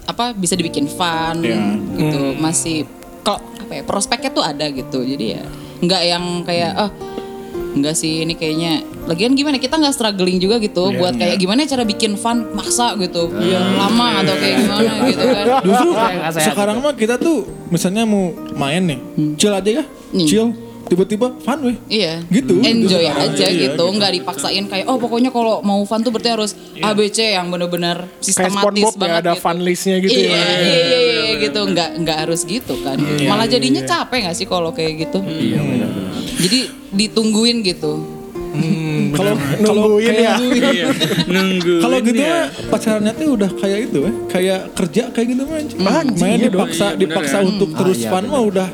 Speaker 4: apa bisa dibikin fun
Speaker 5: Iya.
Speaker 4: gitu. Masih kok apa ya prospeknya tuh ada gitu. Jadi ya nggak yang kayak oh nggak sih ini kayaknya lagian gimana kita nggak struggling juga gitu buat kayak gimana cara bikin fun maksa gitu lama atau kayak gimana gitu kan
Speaker 5: Justru
Speaker 1: Sayang, nggak sehat
Speaker 5: sekarang mah kita tuh misalnya mau main nih, chill aja ya,
Speaker 4: Hmm.
Speaker 5: chill. Tiba-tiba fun weh.
Speaker 4: Iya.
Speaker 5: Gitu.
Speaker 4: Enjoy
Speaker 5: Gitu.
Speaker 4: aja
Speaker 5: Iya,
Speaker 4: gitu, nggak dipaksain kayak oh pokoknya kalau mau fun tuh berarti harus ABC yang bener-bener
Speaker 3: Kayak
Speaker 4: sistematis
Speaker 3: SpongeBob ya
Speaker 4: banget
Speaker 3: ada
Speaker 4: gitu.
Speaker 3: fun listnya gitu
Speaker 4: iya,
Speaker 3: ya.
Speaker 4: iya, iya, iya, gitu nggak nggak harus gitu kan. Malah jadinya capek nggak sih kalau kayak gitu? Iya Jadi ditungguin gitu.
Speaker 5: Kalau gitu,
Speaker 3: Nungguin ya. <laughs>
Speaker 2: iya nunggu
Speaker 5: Kalau gitu
Speaker 2: ya.
Speaker 5: mah pacarannya tuh udah kayak itu ya, kayak kerja kayak gitu mah. anjing. Main
Speaker 3: iya
Speaker 5: dipaksa
Speaker 2: dong. Iya,
Speaker 5: dipaksa
Speaker 2: bener ya.
Speaker 5: untuk terus
Speaker 1: iya,
Speaker 5: fun mah udah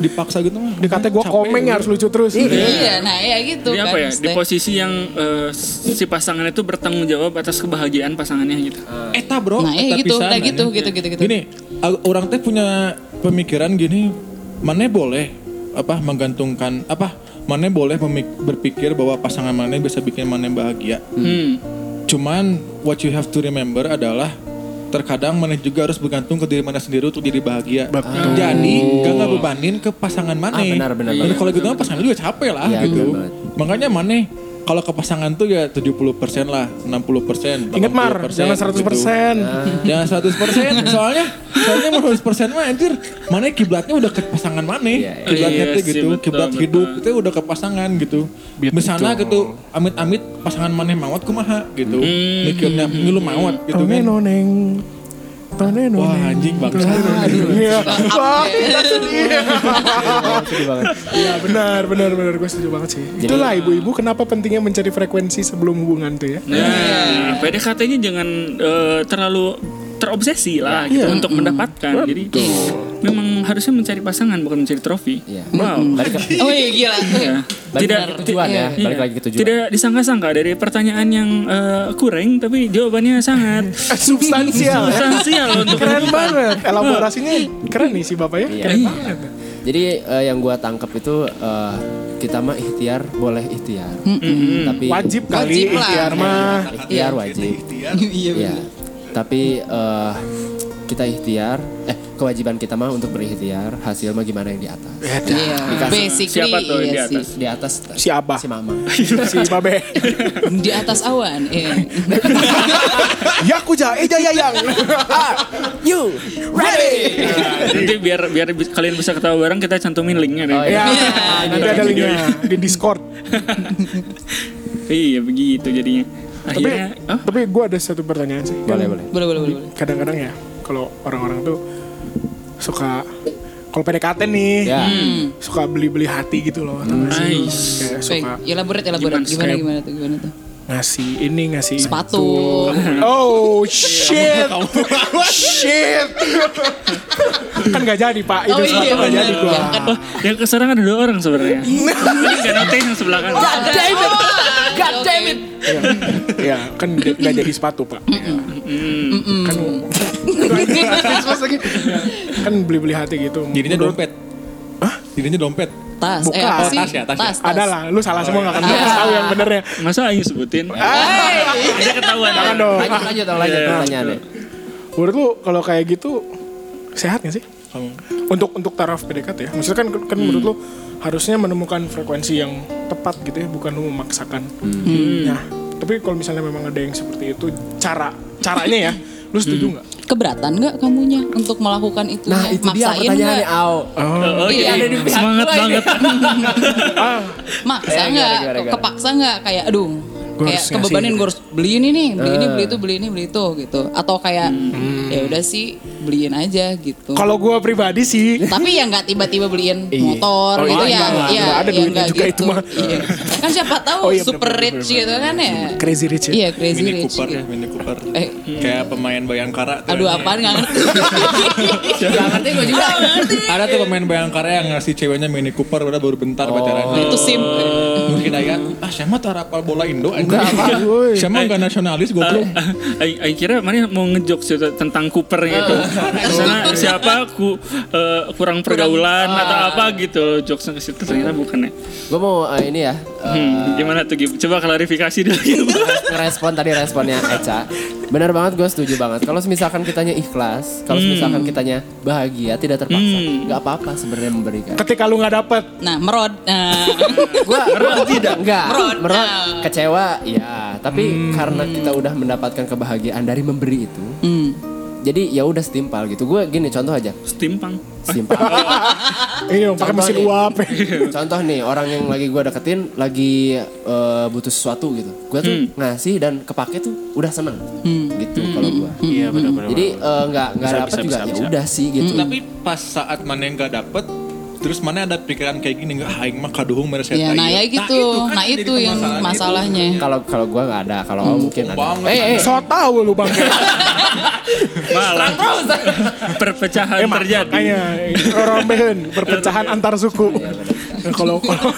Speaker 5: dipaksa gitu mah.
Speaker 3: Dikata gue
Speaker 5: Capek
Speaker 3: komeng ya,
Speaker 5: gitu.
Speaker 3: harus lucu terus.
Speaker 4: Iya, nah ya gitu
Speaker 2: Di
Speaker 4: kan.
Speaker 2: apa ya? Di
Speaker 4: maksudnya.
Speaker 2: posisi yang eh, si pasangannya itu bertanggung jawab atas kebahagiaan pasangannya gitu.
Speaker 1: Ah.
Speaker 5: Eta bro,
Speaker 4: Nah, iya
Speaker 5: eta
Speaker 4: gitu,
Speaker 5: pisan,
Speaker 4: nah gitu,
Speaker 5: anjing.
Speaker 4: gitu, gitu, gitu.
Speaker 5: ya. Gini, a- orang teh punya pemikiran gini, mana boleh apa menggantungkan apa mana boleh memik- berpikir bahwa pasangan mana bisa bikin mana bahagia.
Speaker 2: Hmm.
Speaker 5: Cuman what you have to remember adalah terkadang mana juga harus bergantung ke diri mana sendiri untuk jadi bahagia.
Speaker 3: Betul.
Speaker 5: Jadi gak nggak bebanin ke pasangan
Speaker 1: Ah,
Speaker 5: mana.
Speaker 1: benar, benar,
Speaker 5: Dan
Speaker 1: benar.
Speaker 5: kalau gitu mah pasangan juga capek lah
Speaker 1: Iya,
Speaker 5: gitu.
Speaker 1: benar banget.
Speaker 5: Makanya mana kalau ke pasangan tuh ya 70% lah, 60%,
Speaker 3: Ingat Mar,
Speaker 5: Iya,
Speaker 3: jangan
Speaker 5: gitu.
Speaker 3: 100%.
Speaker 5: Eh, Jangan 100% soalnya soalnya mau 100% mah anjir, mana kiblatnya udah ke pasangan mana.
Speaker 1: Iya, iya.
Speaker 5: Kiblatnya
Speaker 2: Iya
Speaker 5: tuh
Speaker 2: sih,
Speaker 5: gitu,
Speaker 2: betul,
Speaker 5: kiblat
Speaker 2: betul.
Speaker 5: hidup itu udah ke pasangan gitu. Misalnya gitu, amit-amit pasangan mana mawat kumaha gitu.
Speaker 1: Hmm,
Speaker 5: Mikirnya ngilu mawat
Speaker 3: Tone
Speaker 5: gitu kan.
Speaker 3: noneng. Tone
Speaker 5: Wah
Speaker 3: noneng.
Speaker 5: anjing bangsa.
Speaker 3: Iya. Wah,
Speaker 4: Apa ya?
Speaker 3: Iya benar, benar, benar. Gue setuju banget sih. Itulah ibu-ibu kenapa pentingnya mencari frekuensi sebelum hubungan tuh ya.
Speaker 2: Nah, PDKT-nya jangan eh, terlalu terobsesi lah
Speaker 1: Iya.
Speaker 2: gitu untuk
Speaker 1: Hmm.
Speaker 2: mendapatkan. Jadi memang harusnya mencari pasangan bukan mencari trofi.
Speaker 1: Iya.
Speaker 2: Wow.
Speaker 1: Balik ke-
Speaker 4: Oh iya gila.
Speaker 2: Iya.
Speaker 1: balik
Speaker 2: Tidak
Speaker 1: lagi ke tujuan ya.
Speaker 2: Iya.
Speaker 1: Balik lagi ke tujuan.
Speaker 2: Tidak disangka-sangka dari pertanyaan yang eh, kurang tapi jawabannya
Speaker 1: <laughs>
Speaker 2: sangat
Speaker 3: Eh, Substansial. ya.
Speaker 2: substansial untuk
Speaker 3: Keren banget. Elaborasinya keren nih si bapak ya. Keren
Speaker 2: Iya.
Speaker 3: banget.
Speaker 1: Jadi eh, yang gua tangkap itu eh, kita mah ikhtiar boleh ikhtiar. Tapi
Speaker 3: Wajib kali Iya.
Speaker 4: Wajib lah.
Speaker 3: ikhtiar mah.
Speaker 1: ikhtiar wajib.
Speaker 4: Iya
Speaker 1: Iya.
Speaker 4: bener.
Speaker 1: Tapi eh, kita ikhtiar eh kewajiban kita mah untuk berikhtiar, hasil mah gimana yang di atas.
Speaker 4: Iya.
Speaker 1: Dikasih.
Speaker 4: Basically
Speaker 2: Siapa tuh yang di
Speaker 4: iya sih.
Speaker 2: atas?
Speaker 1: Di atas
Speaker 3: Si Abah.
Speaker 1: si mama.
Speaker 3: Si ya. babe.
Speaker 4: Di atas awan. Iya.
Speaker 3: Ya kuja, eja yayang.
Speaker 1: You ready?
Speaker 2: nanti biar biar bi- kalian bisa ketawa bareng kita cantumin linknya deh.
Speaker 1: Oh,
Speaker 3: Ya,
Speaker 2: <laughs>
Speaker 3: nanti ada
Speaker 2: Video
Speaker 3: linknya di Discord.
Speaker 2: Iya begitu jadinya.
Speaker 3: Tapi,
Speaker 2: Akhirnya, oh,
Speaker 3: tapi gue ada satu pertanyaan sih. Kan
Speaker 1: Boleh, boleh.
Speaker 4: Boleh boleh boleh. boleh.
Speaker 3: kadang-kadang ya kalau orang-orang tuh suka kalau PDKT nih
Speaker 1: Ya.
Speaker 3: suka beli-beli hati gitu loh tau gak sih?
Speaker 2: nice.
Speaker 3: kayak
Speaker 4: Baik,
Speaker 3: suka
Speaker 4: elaborate elaborate gimana
Speaker 3: Kayak-
Speaker 4: gimana tuh gimana tuh.
Speaker 3: ngasih ini ngasih itu.
Speaker 4: Sepatu.
Speaker 5: <laughs>
Speaker 3: oh shit shit kan gak jadi pak itu
Speaker 4: Oh
Speaker 3: sepatu
Speaker 4: iya
Speaker 3: gak
Speaker 4: benar.
Speaker 3: jadi gua
Speaker 4: Yang kan-
Speaker 2: yang keserang ada dua orang sebenarnya. Ini Ganote yang sebelah kanan.
Speaker 4: damn it. God damn it.
Speaker 3: ya kan d- gak jadi sepatu pak Ya. kan
Speaker 4: <laughs>
Speaker 3: Terus lagi. Ya, kan beli-beli hati gitu
Speaker 5: Jadinya
Speaker 3: Menurut-
Speaker 5: dompet. Hah? Jadinya dompet.
Speaker 4: Tas. Eh
Speaker 3: Bukan.
Speaker 4: apa sih?
Speaker 5: Tas ya, tas ya.
Speaker 3: ada lah lu salah
Speaker 5: iya.
Speaker 3: semua gak akan
Speaker 4: <laughs> Ah.
Speaker 3: tahu yang benernya
Speaker 2: Masa Ayu sebutin? Aja ketahuan.
Speaker 3: Jangan dong.
Speaker 1: Lanjut lanjut lanjut
Speaker 2: Iya,
Speaker 1: pertanyaannya.
Speaker 3: Menurut lu kalau kayak gitu sehat gak sih?
Speaker 5: Kamu. Hmm.
Speaker 3: Untuk untuk taraf PDKT ya. Maksudnya kan kan menurut lu harusnya menemukan frekuensi yang tepat gitu ya, bukan lu memaksakan.
Speaker 4: Hmm.
Speaker 5: Hmm.
Speaker 3: Nah, tapi kalau misalnya memang ada yang seperti itu cara caranya ya, lu setuju nggak?
Speaker 4: keberatan nggak kamunya untuk melakukan itu?
Speaker 1: Nah itu dia pertanyaannya Au.
Speaker 2: Oh,
Speaker 4: Iya, ada di pihak
Speaker 2: Semangat
Speaker 4: gua ini. <laughs>
Speaker 2: banget. <laughs>
Speaker 1: Eh,
Speaker 4: Maksa
Speaker 1: gimana,
Speaker 4: nggak?
Speaker 1: gimana, gimana?
Speaker 4: Kepaksa nggak? Kayak aduh,
Speaker 3: Gua
Speaker 4: kayak
Speaker 3: harus ngasih
Speaker 4: kebebanin
Speaker 3: gitu.
Speaker 4: gue harus beli ini nih, beli ini,
Speaker 1: Eh.
Speaker 4: beli itu, beli ini, beli itu gitu. Atau kayak
Speaker 1: Hmm.
Speaker 4: ya udah sih beliin aja gitu.
Speaker 3: Kalau gue pribadi sih,
Speaker 4: Tapi ya nggak tiba-tiba beliin
Speaker 1: Iya.
Speaker 4: motor
Speaker 3: Oh,
Speaker 4: gitu
Speaker 3: iya,
Speaker 4: ya,
Speaker 3: enggak lah.
Speaker 4: ya,
Speaker 3: Enggak ada
Speaker 4: ya
Speaker 3: duitnya
Speaker 4: enggak
Speaker 3: juga itu mah.
Speaker 4: Iya. Kan siapa tahu
Speaker 3: Oh, iya,
Speaker 4: super
Speaker 3: bener-bener,
Speaker 4: rich gitu kan ya.
Speaker 3: crazy rich ya.
Speaker 4: Iya crazy
Speaker 5: Mini
Speaker 4: rich.
Speaker 5: Cooper ya,
Speaker 4: gitu.
Speaker 5: Mini Cooper.
Speaker 4: Eh.
Speaker 5: Kayak pemain Bayangkara. tuh.
Speaker 4: Aduh apaan nggak ngerti.
Speaker 5: <laughs>
Speaker 1: Gak ngerti gue juga.
Speaker 5: Ada tuh pemain Bayangkara yang ngasih ceweknya Mini Cooper udah baru
Speaker 1: Oh,
Speaker 5: bentar
Speaker 3: Oh.
Speaker 5: pacaran.
Speaker 4: Itu sim.
Speaker 5: Mungkin aja, ah siapa tuh rapal bola Indo aja.
Speaker 1: Enggak,
Speaker 5: <laughs>
Speaker 1: apa, woi.
Speaker 5: Siapa enggak nasionalis goblok.
Speaker 2: Ah, Aing aing kira mana mau ngejok sih tentang Cooper gitu. Karena siapa ku eh, kurang pergaulan atau apa gitu loh jokesnya ke situ ternyata bukan ya.
Speaker 1: Gue mau eh, ini ya. eh,
Speaker 2: Hmm, gimana tuh Gib? Coba klarifikasi dulu. Gib.
Speaker 1: <laughs> ngerespon tadi responnya Eca. Benar banget gue setuju banget. Kalau misalkan kitanya ikhlas, kalau misalkan kitanya bahagia, tidak terpaksa,
Speaker 2: Hmm.
Speaker 1: nggak apa-apa sebenarnya memberikan.
Speaker 3: Ketika lu nggak dapet,
Speaker 4: Nah merod. Nah.
Speaker 1: Gua tidak enggak
Speaker 4: Merot.
Speaker 1: merot kecewa ya, tapi karena kita udah mendapatkan kebahagiaan dari memberi itu,
Speaker 4: Hmm.
Speaker 1: jadi ya udah setimpal gitu. Gue gini contoh aja,
Speaker 2: Setimpang.
Speaker 1: setimpal.
Speaker 3: ini dong iya, pakai mesin <laughs> uap.
Speaker 1: <coughs> Contoh nih orang yang lagi gue deketin lagi eh, butuh sesuatu gitu. Gue tuh ngasih dan kepake tuh udah seneng gitu kalau gue.
Speaker 6: Iya benar-benar.
Speaker 1: Jadi eh, nggak nggak
Speaker 6: Bisa,
Speaker 1: dapet
Speaker 6: bisa,
Speaker 1: juga
Speaker 6: bisa,
Speaker 1: ya
Speaker 6: bisa.
Speaker 1: udah sih gitu.
Speaker 5: Tapi pas saat mana yang gak dapet Terus mana ada pikiran kayak gini nggak aing mah kaduhung mereka
Speaker 4: Ya, nah ya gitu. Nah itu yang masalahnya.
Speaker 1: Kalau kalau gue nggak ada, kalau Om mungkin ada.
Speaker 5: banget.
Speaker 1: Eh, eh,
Speaker 3: So tau lu bang.
Speaker 2: Malah perpecahan terjadi.
Speaker 3: Makanya rorombehan perpecahan antar suku. Nah, Kalau kalau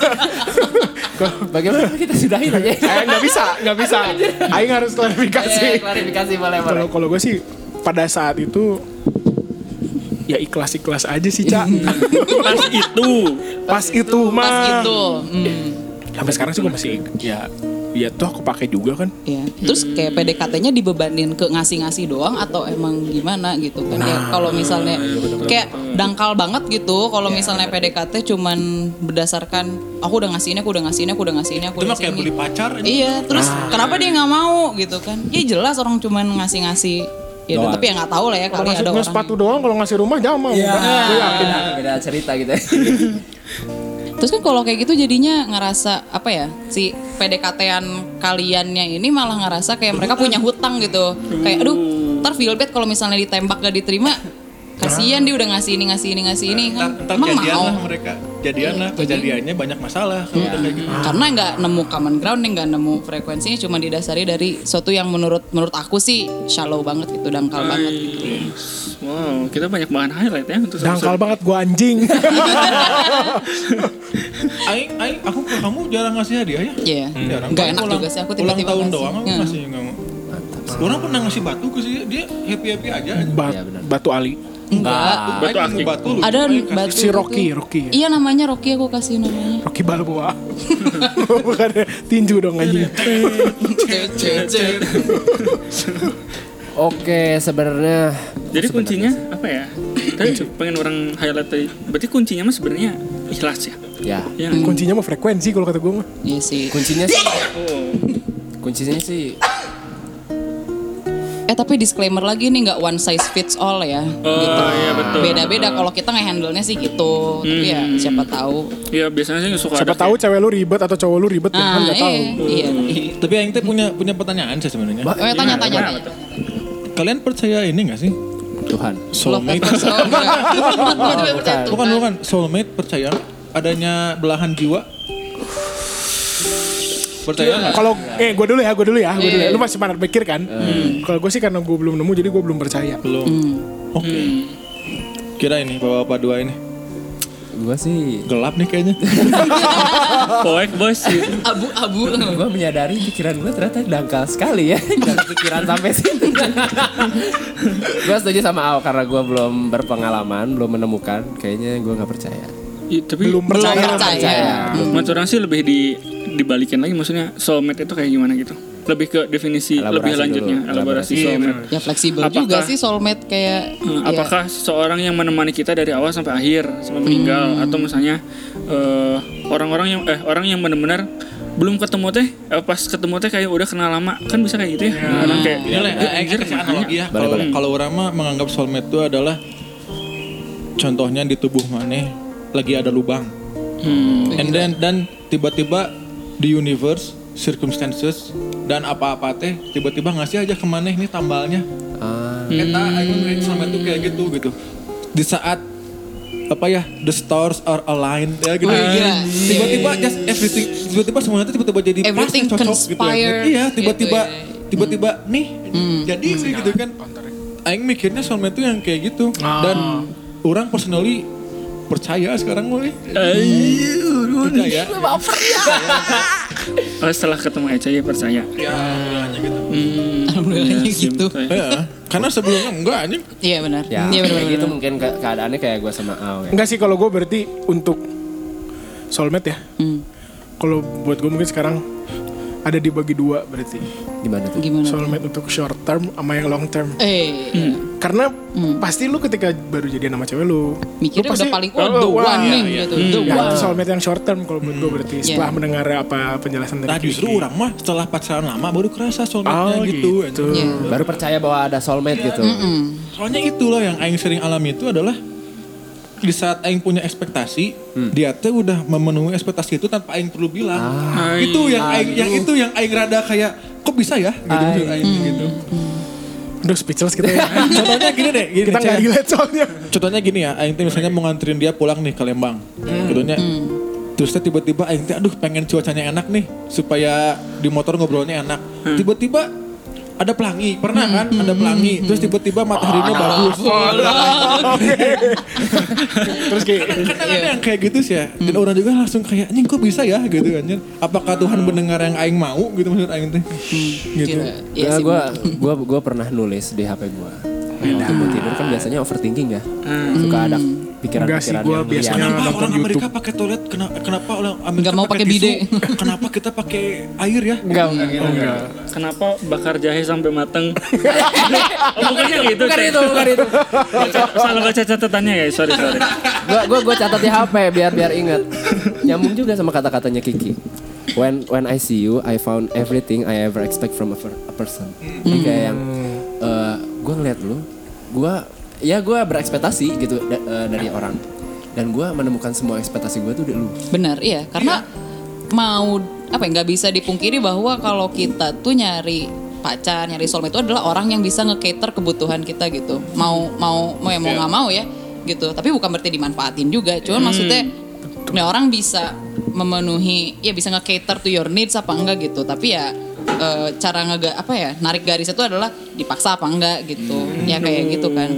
Speaker 1: bagaimana kita sudahin aja?
Speaker 3: <laughs> eh, nggak bisa, nggak bisa. Aing harus
Speaker 4: Iya,
Speaker 1: Eh,
Speaker 3: klarifikasi.
Speaker 1: klarifikasi boleh boleh.
Speaker 3: Kalau kalau gue sih pada saat itu ya ikhlas ikhlas aja sih cak.
Speaker 2: Pas itu
Speaker 3: Pas itu mah.
Speaker 4: Pas itu. Hmm.
Speaker 3: Sampai sekarang sih gue masih ya ya toh aku pakai juga kan.
Speaker 4: Ya. Terus kayak
Speaker 5: Hmm.
Speaker 4: PDKT-nya dibebanin ke ngasih-ngasih doang atau emang gimana gitu kan
Speaker 5: Nah,
Speaker 4: ya kalau misalnya
Speaker 5: iya,
Speaker 4: kayak dangkal banget gitu kalau misalnya PDKT cuman berdasarkan aku udah ngasih ini aku udah ngasih ini aku udah ngasih ini aku
Speaker 5: Itu
Speaker 4: udah
Speaker 5: mah
Speaker 4: ngasih
Speaker 5: kayak
Speaker 4: ini.
Speaker 5: beli Nah. pacar ini.
Speaker 4: Iya, terus kenapa dia nggak mau gitu kan? Ya jelas orang cuman ngasih-ngasih ya udah,
Speaker 1: Doang.
Speaker 4: tapi ya nggak tahu lah ya
Speaker 3: Kalau
Speaker 4: kali ada
Speaker 3: ngasih
Speaker 4: orang.
Speaker 3: sepatu doang kalau ngasih rumah jangan mau. Bukan. Gue yakin.
Speaker 1: Beda cerita gitu.
Speaker 4: Terus kan kalau kayak gitu jadinya ngerasa apa ya si PDKT-an kaliannya ini malah ngerasa kayak mereka punya hutang gitu. Kayak aduh, ntar feel bad kalau misalnya ditembak gak diterima. Kasihan dia udah ngasih ini ngasih ini ngasih ini
Speaker 5: Ntar,
Speaker 4: kan.
Speaker 5: ntar
Speaker 4: Emang
Speaker 5: jadian
Speaker 4: mau. Iya,
Speaker 5: lah mereka Jadian lah Kejadiannya banyak masalah Kalau udah kayak gitu
Speaker 4: Karena nggak nemu common ground nih, nggak nemu frekuensinya, cuma didasari dari sesuatu yang menurut menurut aku sih shallow banget gitu, dangkal
Speaker 5: Hmm.
Speaker 4: banget gitu.
Speaker 2: Wow, kita banyak bahan highlight ya untuk
Speaker 3: Dangkal banget gue anjing.
Speaker 5: Aing, aing, aku ke kamu jarang ngasih hadiah ya
Speaker 4: Iya,
Speaker 5: Jarang.
Speaker 4: nggak
Speaker 5: Paling
Speaker 4: enak
Speaker 5: ulang-
Speaker 4: juga sih aku tiba-tiba
Speaker 5: Ulang tahun
Speaker 4: ngasih.
Speaker 5: doang aku
Speaker 4: Iya.
Speaker 5: ngasih nggak mau Orang pernah ngasih batu ke sih Dia happy-happy aja
Speaker 3: Bat-
Speaker 1: Iya, benar.
Speaker 3: batu Ali.
Speaker 4: Enggak.
Speaker 5: Aing
Speaker 2: akik.
Speaker 5: nemu batu lu.
Speaker 4: Ada
Speaker 5: Aing kasih.
Speaker 4: batu
Speaker 3: Si Rocky,
Speaker 4: itu.
Speaker 3: Rocky ya?
Speaker 4: Iya namanya Rocky aku kasih namanya.
Speaker 5: <laughs>
Speaker 3: Rocky Balboa. <laughs> Bukan ya. tinju dong anjing.
Speaker 1: <laughs> Oke, sebenarnya
Speaker 2: Jadi kuncinya apa ya?
Speaker 3: Hmm.
Speaker 2: Tadi pengen orang highlight tadi. Berarti kuncinya mah sebenarnya ikhlas ya.
Speaker 1: ya
Speaker 2: Ya.
Speaker 3: Kuncinya mah frekuensi kalau kata gue mah.
Speaker 4: Iya sih.
Speaker 1: kuncinya sih kuncinya sih
Speaker 4: Eh tapi disclaimer lagi nih nggak one size fits all ya.
Speaker 3: Hmm.
Speaker 2: Oh iya betul.
Speaker 4: Beda-beda kalau kita nge-handle nya sih gitu. Tapi ya siapa tahu.
Speaker 2: Iya biasanya sih suka
Speaker 3: Siapa
Speaker 2: ada
Speaker 3: tahu cewek lu ribet atau cowok lu ribet ya kan
Speaker 4: Nah,
Speaker 3: nggak tahu.
Speaker 4: eh, iya.
Speaker 5: Tapi Aing teh punya punya pertanyaan sih sebenarnya
Speaker 1: Ba-
Speaker 4: Oh ya tanya tanya.
Speaker 2: Gimana
Speaker 4: tanya.
Speaker 2: tuh?
Speaker 5: Kalian percaya ini gak sih?
Speaker 1: Tuhan.
Speaker 5: Soulmate
Speaker 4: Terus, oh, enggak. Tiba-tiba bertanya,
Speaker 5: Bukan bukan soulmate percaya nggak? adanya belahan jiwa. Percaya nggak?
Speaker 3: Kalau eh gue dulu ya, gue dulu ya, gue dulu. Ya. Lu masih panas pikir kan? Kalau gue sih karena gue belum nemu jadi gue belum percaya.
Speaker 5: Belum. Oke. Kira ini bapak-bapak dua ini
Speaker 1: Gue sih
Speaker 5: gelap nih kayaknya.
Speaker 2: Poek bos. gitu.
Speaker 4: Abu-abu.
Speaker 1: gue menyadari pikiran gue ternyata dangkal sekali ya <laughs> dari pikiran sampai
Speaker 4: <laughs>
Speaker 1: sini gue setuju sama Ao karena gue belum berpengalaman belum menemukan kayaknya gue nggak percaya
Speaker 2: Iya, tapi
Speaker 3: Belum
Speaker 4: Belum
Speaker 3: percaya.
Speaker 4: percaya.
Speaker 2: menurut orang sih lebih di dibalikin lagi maksudnya soulmate itu kayak gimana gitu. Lebih ke definisi
Speaker 1: Elaborasi
Speaker 2: lebih lanjutnya
Speaker 1: dulu,
Speaker 2: elaborasi
Speaker 3: elaborasi. Iya,
Speaker 2: soulmate.
Speaker 4: Ya fleksibel
Speaker 2: Apakah-
Speaker 4: juga sih soulmate kayak.
Speaker 2: Hmm,
Speaker 1: Iya.
Speaker 4: ya. <laughs>
Speaker 2: Apakah seseorang yang menemani kita dari awal sampai
Speaker 1: Hmm.
Speaker 2: akhir sampai meninggal atau misalnya eh, orang-orang yang eh orang yang benar-benar belum ketemu teh eh, pas ketemu teh kayak udah kenal lama kan bisa kayak gitu ya
Speaker 1: Iya.
Speaker 2: orang kayak
Speaker 5: Ini lah,
Speaker 2: "Eh,
Speaker 5: eh,
Speaker 2: anjir,
Speaker 5: kasih
Speaker 2: makanya."
Speaker 5: analogi ya.
Speaker 1: Boleh,
Speaker 5: Kalau
Speaker 1: boleh.
Speaker 5: kalau orang mah menganggap soulmate itu adalah contohnya di tubuh maneh lagi ada lubang. And then dan tiba-tiba di universe circumstances dan apa-apa teh tiba-tiba ngasih aja ke maneh ini tambalnya.
Speaker 1: Ah,
Speaker 5: Eta aing sama itu kayak gitu gitu. Di saat apa ya the stars are aligned ya gitu.
Speaker 4: Wah, gila.
Speaker 5: Tiba-tiba just everything tiba-tiba semuanya tuh tiba-tiba jadi pas,
Speaker 4: Everything
Speaker 5: cocok gitu.
Speaker 4: conspire
Speaker 5: ya. Iya, tiba-tiba
Speaker 4: gitu ya. Hmm.
Speaker 5: tiba-tiba nih jadi sih gitu kan. Aing mikirnya soulmate itu yang kayak gitu
Speaker 4: Ah.
Speaker 5: dan orang personally percaya sekarang mulai percaya
Speaker 2: Oh, setelah ketemu Eca ya percaya
Speaker 5: ya hanya gitu
Speaker 2: Hmm,
Speaker 4: Alhamdulillahnya
Speaker 2: iya sih,
Speaker 4: gitu.
Speaker 2: betul ya.
Speaker 5: Iya, karena sebelumnya enggak anjing
Speaker 4: Iya benar.
Speaker 1: ya,
Speaker 4: Iya benar.
Speaker 1: kayak
Speaker 4: benar,
Speaker 1: gitu
Speaker 4: benar.
Speaker 1: mungkin ke- keadaannya kayak gue sama Aw ya.
Speaker 3: Enggak sih kalau gue berarti untuk soulmate ya.
Speaker 4: Hmm.
Speaker 3: Kalau buat gue mungkin sekarang ada dibagi dua berarti.
Speaker 1: Gimana tuh?
Speaker 4: Gimana?
Speaker 3: Soulmate untuk short term sama yang long term.
Speaker 4: Eh,
Speaker 3: Karena pasti lu ketika baru jadian sama cewek lu, lu
Speaker 4: Hmm. mikirnya
Speaker 3: pasti
Speaker 4: udah paling oh, the
Speaker 3: Oh, wah,
Speaker 4: one
Speaker 3: iya,
Speaker 4: nih
Speaker 5: iya.
Speaker 4: gitu. The
Speaker 3: Ya, itu
Speaker 4: one.
Speaker 3: soulmate yang short term kalau buat gue berarti setelah
Speaker 4: Iya.
Speaker 3: mendengar apa penjelasan dari
Speaker 5: nah justru
Speaker 3: Kiki.
Speaker 5: orang mah setelah pacaran lama baru kerasa soulmate-nya
Speaker 3: Oh
Speaker 5: gitu,
Speaker 3: gitu.
Speaker 5: anjing.
Speaker 4: Iya.
Speaker 1: Baru percaya bahwa ada soulmate gitu.
Speaker 5: soalnya itulah yang aing sering alami itu adalah di saat aing punya ekspektasi dia tuh udah memenuhi ekspektasi itu tanpa aing perlu bilang itu yang aing yang itu yang aing rada kayak kok bisa ya gitu maksud aing gitu
Speaker 3: Udah speechless kita ya.
Speaker 5: <laughs> contohnya gini deh gini
Speaker 3: kita nggak
Speaker 5: deh, Cah.
Speaker 3: relate soalnya.
Speaker 5: Contohnya gini ya, Aing teh misalnya mau nganterin dia pulang nih ke Lembang. Contohnya, terus teh tiba-tiba Aing teh aduh pengen cuacanya enak nih supaya di motor ngobrolnya enak. Tiba-tiba ada pelangi, pernah kan ada pelangi. Terus tiba-tiba mataharinya bagus. <laughs>
Speaker 3: Terus kayak
Speaker 5: Kadang ada yang kayak gitu sih ya. Dan orang juga langsung kayak, anjing kok bisa ya gitu anjir. Apakah Tuhan mendengar yang Aing mau gitu maksud Aing teh. Gitu.
Speaker 4: Gila. Iya
Speaker 1: Nah,
Speaker 4: sih.
Speaker 1: gua, gua, gua pernah nulis di HP gua.
Speaker 3: Iya.
Speaker 1: Waktu gua tidur kan biasanya overthinking ya. Suka ada
Speaker 3: Hmm. Enggak sih,
Speaker 1: pikiran-pikiran
Speaker 3: gua
Speaker 1: yang
Speaker 3: biasanya
Speaker 1: liar.
Speaker 5: Kenapa
Speaker 3: nonton
Speaker 5: orang Amerika
Speaker 3: YouTube.
Speaker 5: pakai toilet? Kenapa, kenapa orang Amerika
Speaker 4: Nggak mau pakai
Speaker 5: tisu?
Speaker 4: bidet.
Speaker 5: <laughs> Kenapa kita pakai air ya?
Speaker 1: Enggak,
Speaker 4: Iya.
Speaker 1: enggak gitu.
Speaker 2: Iya. kenapa bakar jahe sampai
Speaker 1: <laughs>
Speaker 2: mateng <laughs> oh, bukan yang itu
Speaker 1: Bukan
Speaker 2: Cah.
Speaker 1: itu, bukan itu.
Speaker 2: salah baca catatannya ya sorry sorry
Speaker 1: gua gua gua catat di HP biar biar ingat. Nyambung juga sama kata-katanya Kiki. When when I see you, I found everything I ever expect from a, per- a person. Jadi kayak yang eh, gua ngeliat lu, gua ya gua berekspektasi gitu da- eh, dari orang. Dan gua menemukan semua ekspektasi gua tuh di lu.
Speaker 4: Benar, iya. Karena mau apa ya nggak bisa dipungkiri bahwa kalau kita tuh nyari pacar, nyari soulmate itu adalah orang yang bisa nge-cater kebutuhan kita gitu. Mau mau mau ya mau nggak mau ya gitu. Tapi bukan berarti dimanfaatin juga. Cuman maksudnya nah orang bisa memenuhi ya bisa nge-cater to your needs apa enggak gitu. Tapi ya eh, cara nge apa ya narik garis itu adalah dipaksa apa enggak gitu. Ya kayak gitu kan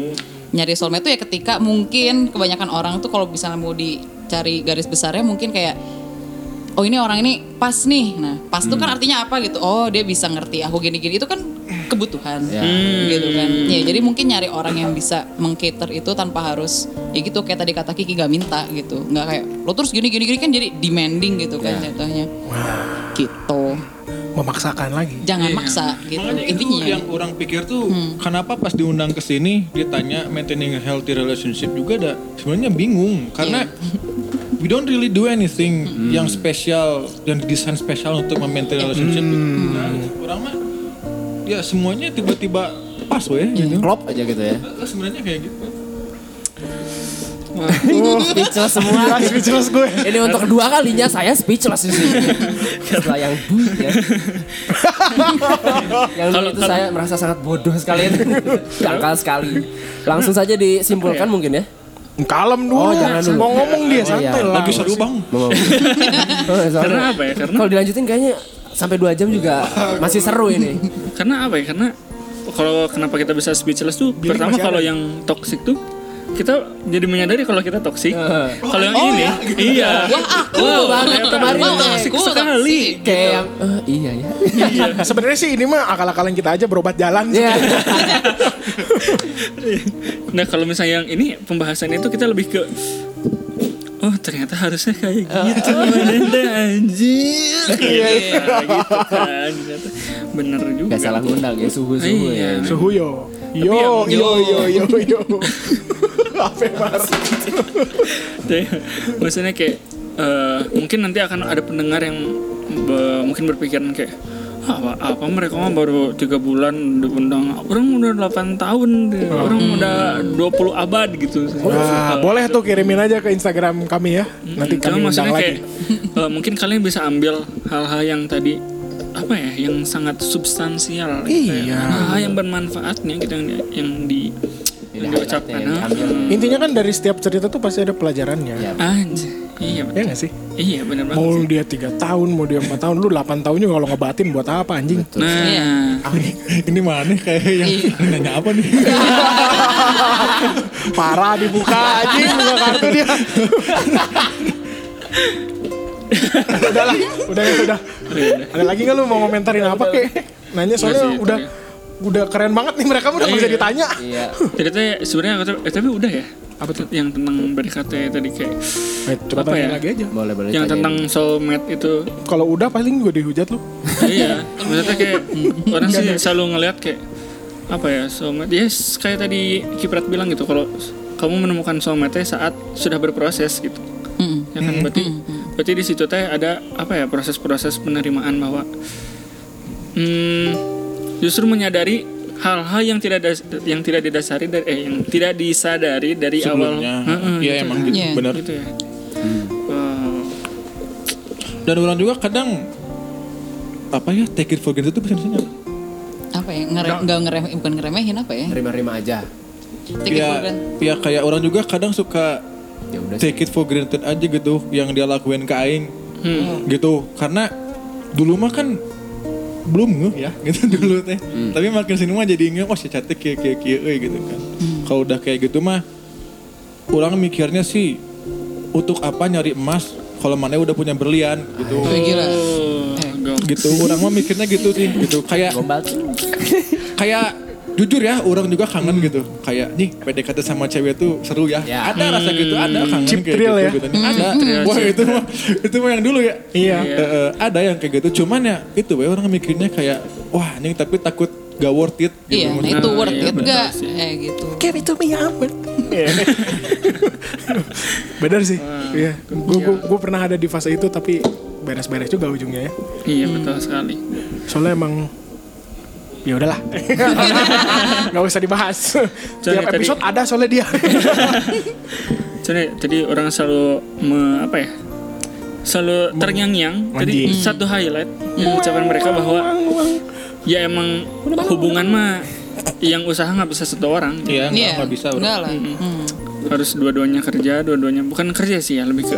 Speaker 4: nyari soulmate tuh ya ketika mungkin kebanyakan orang tuh kalau misalnya mau dicari garis besarnya mungkin kayak oh ini orang ini pas nih nah pas tuh kan
Speaker 1: Hmm.
Speaker 4: artinya apa gitu oh dia bisa ngerti aku gini-gini itu kan kebutuhan
Speaker 1: Ya.
Speaker 4: gitu kan ya jadi mungkin nyari orang yang bisa mengcater itu tanpa harus ya gitu kayak tadi kata Kiki gak minta gitu nggak kayak lo terus gini-gini gini kan jadi demanding gitu kan
Speaker 1: Ya.
Speaker 4: contohnya gitu
Speaker 3: memaksakan lagi.
Speaker 4: jangan
Speaker 1: Iya.
Speaker 4: maksa gitu
Speaker 5: Makanya itu
Speaker 4: intinya Hmm.
Speaker 5: yang orang pikir tuh kenapa pas diundang ke sini ditanya maintaining a healthy relationship juga ada sebenarnya bingung karena
Speaker 4: Iya.
Speaker 5: we don't really do anything yang spesial yang didesain spesial untuk memaintain
Speaker 4: Hmm.
Speaker 5: relationship. Nah, orang mah ya semuanya tiba-tiba pas weh gitu.
Speaker 4: Iya.
Speaker 1: Klop aja gitu ya.
Speaker 5: Eh, Sebenarnya kayak gitu.
Speaker 1: Speechless <laughs> semua.
Speaker 3: Nah, Speechless gue.
Speaker 1: Ini untuk kedua kalinya saya speechless di sini. Setelah yang bu ya. yang dulu itu saya merasa sangat bodoh sekali. Dangkal sekali. Langsung saja disimpulkan mungkin ya.
Speaker 3: Kalem
Speaker 1: Oh,
Speaker 3: dulu.
Speaker 1: jangan dulu.
Speaker 3: Mau ngomong dia
Speaker 1: Oh,
Speaker 3: santai
Speaker 1: iya.
Speaker 3: lah.
Speaker 5: Lagi seru bang.
Speaker 1: Mau- Oh, soalnya
Speaker 2: karena apa ya karena
Speaker 1: Kalau dilanjutin kayaknya sampai dua jam juga masih seru ini.
Speaker 2: karena apa ya karena kalau kenapa kita bisa speechless tuh pertama
Speaker 3: masih
Speaker 2: kalau
Speaker 3: ada.
Speaker 2: yang toxic tuh kita jadi menyadari kalau kita toxic
Speaker 1: Heeh.
Speaker 2: kalau yang ini Ah. Oh, iya
Speaker 4: wah aku
Speaker 1: Wow, banget
Speaker 4: ternyata.
Speaker 1: kemarin.
Speaker 4: Wah,
Speaker 2: Toxic
Speaker 4: aku
Speaker 2: sekali.
Speaker 4: toxic.
Speaker 1: Kayak yang eh, iya ya.
Speaker 3: Sebenarnya sih ini mah akal-akalan kita aja berobat jalan.
Speaker 1: Iya.
Speaker 2: nah kalau misalnya yang ini pembahasannya itu kita lebih ke oh ternyata harusnya kayak gitu Ternyata anjir iya gitu kan Ternyata bener juga
Speaker 1: Gak salah ngundang ya suhu-suhu
Speaker 2: Iya.
Speaker 1: ya.
Speaker 3: Suhu yo.
Speaker 2: yang-
Speaker 3: Yo, yo, yo, yo, yo. Apa yang marah?
Speaker 2: Tapi, maksudnya kayak eh, mungkin nanti akan ada pendengar yang be- mungkin berpikiran kayak "Ah, apa, apa mereka mah baru tiga bulan diundang orang udah 8 tahun orang udah 20 abad gitu
Speaker 3: Oh. Wah, Nah, boleh tuh kirimin aja ke Instagram kami ya. Nanti
Speaker 2: Cuma
Speaker 3: kami
Speaker 2: Hmm. maksudnya
Speaker 3: undang
Speaker 2: kayak
Speaker 3: lagi.
Speaker 2: eh, mungkin kalian bisa ambil hal-hal yang tadi apa ya yang sangat substansial gitu ya.
Speaker 3: Iya.
Speaker 2: hal-hal yang bermanfaatnya gitu yang di- yang di yang diucapkan
Speaker 1: highlightnya,
Speaker 2: ah.
Speaker 1: diambil.
Speaker 3: Intinya kan dari setiap cerita tuh pasti ada pelajarannya.
Speaker 1: Iya.
Speaker 2: Anjir. iya
Speaker 3: Ya
Speaker 2: benar
Speaker 3: nggak sih?
Speaker 2: iya benar banget
Speaker 3: Mau
Speaker 2: sih.
Speaker 3: dia tiga tahun, mau dia empat tahun, lu 8 tahun juga kalau ngebatin buat apa anjing?
Speaker 2: nah
Speaker 4: Iya.
Speaker 5: <laughs> ini mana kayak yang <laughs> nanya apa
Speaker 4: <laughs>
Speaker 5: nih
Speaker 3: Parah dibuka anjing, buka kartu dia. <laughs> udah lah, udah ya, udah. Ada lagi nggak lu mau komentarin apa kek? Nanya soalnya
Speaker 2: Masih,
Speaker 3: udah udah keren banget nih mereka udah nggak bisa
Speaker 2: Iya.
Speaker 3: ditanya.
Speaker 1: Iya.
Speaker 2: jadi tuh ya, sebenarnya aku tuh- eh, tapi udah ya apa tuh yang tentang BDKT tadi kayak
Speaker 3: Eh, coba
Speaker 2: Apa
Speaker 3: tanya
Speaker 2: ya?
Speaker 3: lagi aja.
Speaker 1: Boleh boleh.
Speaker 2: yang
Speaker 1: tanyain.
Speaker 2: tentang soulmate
Speaker 5: <laughs>
Speaker 2: itu
Speaker 3: Kalau udah paling juga dihujat lu.
Speaker 2: iya maksudnya kayak orang sih selalu ngelihat kayak apa ya soulmate yes kayak tadi Kiprat bilang gitu kalau kamu menemukan soulmate saat sudah berproses gitu
Speaker 4: Mm-mm.
Speaker 2: ya kan
Speaker 5: Hmm.
Speaker 2: berarti berarti di situ teh ada apa ya proses-proses penerimaan bahwa hmm, justru menyadari hal-hal yang tidak das- yang tidak didasari dari eh yang tidak disadari dari
Speaker 5: sebelumnya
Speaker 2: awal Heeh,
Speaker 5: iya
Speaker 2: gitu.
Speaker 5: emang gitu
Speaker 4: Iya.
Speaker 5: benar
Speaker 2: gitu ya Wow.
Speaker 5: dan orang juga kadang apa ya take it for granted itu biasanya
Speaker 4: apa ya ngere nggak ngeremehin bukan ngeremehin apa ya
Speaker 1: Rima-rima aja.
Speaker 4: take it for
Speaker 5: ya
Speaker 4: granted
Speaker 5: ya kayak orang juga kadang suka
Speaker 1: Ya udah. sih.
Speaker 5: take it for granted aja gitu yang dia lakuin ke aing
Speaker 4: Hmm.
Speaker 5: gitu karena dulu mah kan belum ngeh ya <laughs> gitu dulu teh
Speaker 4: Hmm.
Speaker 5: tapi makin sini mah jadi ngeh oh si cantik kia kia kia euy," gitu kan
Speaker 4: Hmm.
Speaker 5: kalau udah kayak gitu mah orang mikirnya sih untuk apa nyari emas kalau mana udah punya berlian gitu
Speaker 4: Wah, gila
Speaker 2: Oh, gong.
Speaker 5: gitu orang mah mikirnya gitu sih gitu kayak
Speaker 1: Gombal tuh.
Speaker 5: kayak jujur ya orang juga kangen gitu kayak nih PDKT sama cewek tuh seru ya,
Speaker 1: Ya.
Speaker 5: ada rasa gitu ada kangen
Speaker 3: Hmm. Chip
Speaker 5: kayak
Speaker 3: thrill
Speaker 5: gitu,
Speaker 3: ya.
Speaker 5: gitu. ada wah itu mah itu mah yang dulu ya
Speaker 3: Iya.
Speaker 5: Eh, eh, ada yang kayak gitu cuman ya itu we orang mikirnya kayak wah anjing tapi takut gak worth it gitu
Speaker 4: iya nah
Speaker 5: Maksudnya,
Speaker 4: itu
Speaker 2: Nah,
Speaker 4: worth
Speaker 2: iya,
Speaker 4: it
Speaker 2: bener
Speaker 4: gak
Speaker 2: sih.
Speaker 4: eh gitu
Speaker 3: Give it to me, Albert.
Speaker 2: Iya.
Speaker 3: Bener sih.
Speaker 2: Ah,
Speaker 3: Iya. Gue pernah ada di fase itu tapi beres-beres juga ujungnya ya.
Speaker 2: iya betul sekali
Speaker 3: Soalnya emang ya udahlah. Gak usah dibahas. Tiap
Speaker 2: tadi-
Speaker 3: episode ada soalnya dia.
Speaker 2: Jadi tadi orang selalu me- apa ya? Selalu terngiang-ngiang. Tadi
Speaker 3: Anjing.
Speaker 2: satu highlight yang ucapan mereka bahwa ya emang hubungan mah yang usaha nggak bisa satu orang.
Speaker 5: iya nggak
Speaker 4: iya
Speaker 5: nggak bisa bro.
Speaker 4: enggak lah Hmm.
Speaker 2: Harus dua-duanya kerja, dua-duanya bukan kerja sih ya lebih ke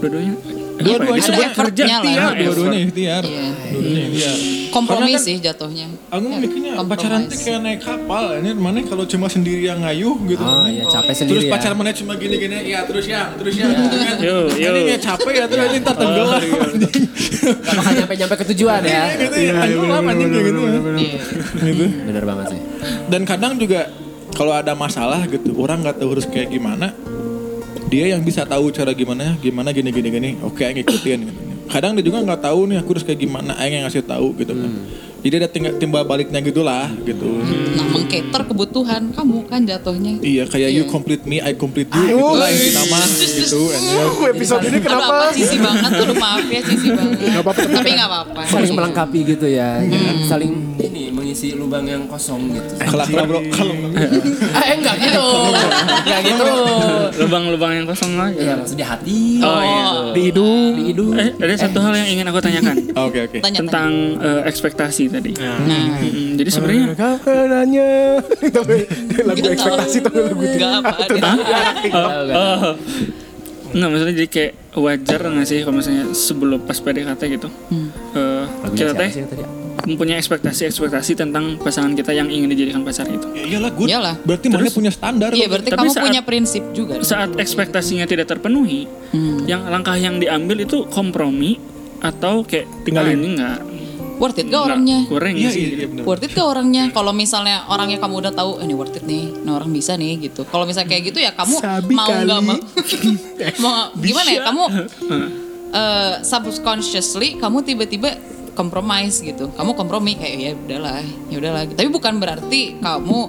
Speaker 2: dua-duanya.
Speaker 5: Dua-duanya
Speaker 2: Apa ya, disebut
Speaker 4: ada effortnya
Speaker 2: kerja,
Speaker 4: lah,
Speaker 2: iya,
Speaker 4: ada
Speaker 5: dua-duanya ikhtiar
Speaker 4: Iya.
Speaker 5: dua-duanya ikhtiar
Speaker 4: kompromi
Speaker 5: Karena kan-
Speaker 4: sih jatuhnya
Speaker 5: Aku
Speaker 4: Ya,
Speaker 5: mikirnya pacaran
Speaker 4: kompromis.
Speaker 5: tuh kayak naik kapal, ini mana kalau cuma sendiri yang ngayuh gitu.
Speaker 1: Oh iya capek
Speaker 5: terus
Speaker 1: sendiri ya. Iya.
Speaker 5: pacar mana cuma gini-gini ya terus ya terus ya gitu kan
Speaker 2: Yo, yo. Ah, iya,
Speaker 5: ini ya capek ya terus ini ntar tenggelam <laughs> anjing.
Speaker 1: Gak bakal nyampe-nyampe ke tujuan ya.
Speaker 5: gitu ya tenggelam anjing kayak gitu ya. gitu
Speaker 1: Bener banget sih.
Speaker 5: dan kadang juga kalau ada masalah gitu orang nggak tahu harus kayak gimana dia yang bisa tahu cara gimana gimana gini gini gini oke ayo ngikutin gitu. kadang dia juga nggak tahu nih aku harus kayak gimana ayo yang ngasih tahu gitu kan
Speaker 1: Hmm.
Speaker 5: jadi ada tinggal timbal baliknya gitulah gitu
Speaker 4: nah mengkater kebutuhan kamu kan jatuhnya
Speaker 5: Iya kayak you complete me, I complete you gitu
Speaker 3: Aduh.
Speaker 5: lah inti nama gitu. anjing.
Speaker 3: Uh, episode ini
Speaker 4: Aduh, apa
Speaker 3: kenapa?
Speaker 4: sisi banget tuh maaf ya sisi banget
Speaker 3: Nggak apa-apa.
Speaker 4: tapi nggak apa-apa
Speaker 1: Saling melengkapi gitu ya. Saling ini mengisi lubang yang kosong gitu.
Speaker 5: Kalah kalah bro, kalau
Speaker 1: eh enggak gitu. Enggak gitu.
Speaker 2: Lubang-lubang yang kosong lah.
Speaker 1: Iya
Speaker 2: Ya.
Speaker 1: maksudnya hati.
Speaker 2: Oh, iya.
Speaker 1: Di hidung. Di hidung.
Speaker 2: Eh, ada satu hal yang ingin aku tanyakan
Speaker 5: <laughs> Oke oke.
Speaker 4: tanya tanya
Speaker 2: tentang eh, ekspektasi tadi.
Speaker 4: nah
Speaker 2: Mm, Jadi sebenarnya
Speaker 3: Kapananya <laughs> Tapi lagu ekspektasi tapi lagu itu.
Speaker 4: nggak apa
Speaker 1: kan?
Speaker 2: Oh. Nggak Nah, maksudnya jadi kayak wajar nggak sih kalau misalnya sebelum pas PDKT gitu eh,
Speaker 1: Lagunya
Speaker 2: kita
Speaker 1: siapa
Speaker 2: teh
Speaker 1: sih yang tadi?
Speaker 2: mempunyai ekspektasi ekspektasi tentang pasangan kita yang ingin dijadikan pacar gitu.
Speaker 5: Ya iyalah gue.
Speaker 4: Iyalah.
Speaker 5: Berarti mereka punya standar.
Speaker 4: iya berarti
Speaker 2: Tapi
Speaker 4: kamu
Speaker 2: saat-
Speaker 4: punya prinsip juga
Speaker 2: Saat ekspektasinya tidak terpenuhi, yang langkah yang diambil itu kompromi atau kayak tinggal ini nggak
Speaker 4: worth it gak
Speaker 2: nggak
Speaker 4: orangnya
Speaker 2: kurang
Speaker 5: Iya
Speaker 2: sih. gitu.
Speaker 5: iya iya benar.
Speaker 4: worth it ke orangnya kalau misalnya orangnya kamu udah tahu eh, ini worth it nih nah orang bisa nih gitu kalau misalnya kayak gitu ya kamu
Speaker 3: Sabi
Speaker 4: mau nggak
Speaker 3: <laughs> kali.
Speaker 4: mau mau gimana ya kamu eh, subconsciously kamu tiba-tiba compromise gitu kamu kompromi kayak ya udahlah ya udahlah tapi bukan berarti kamu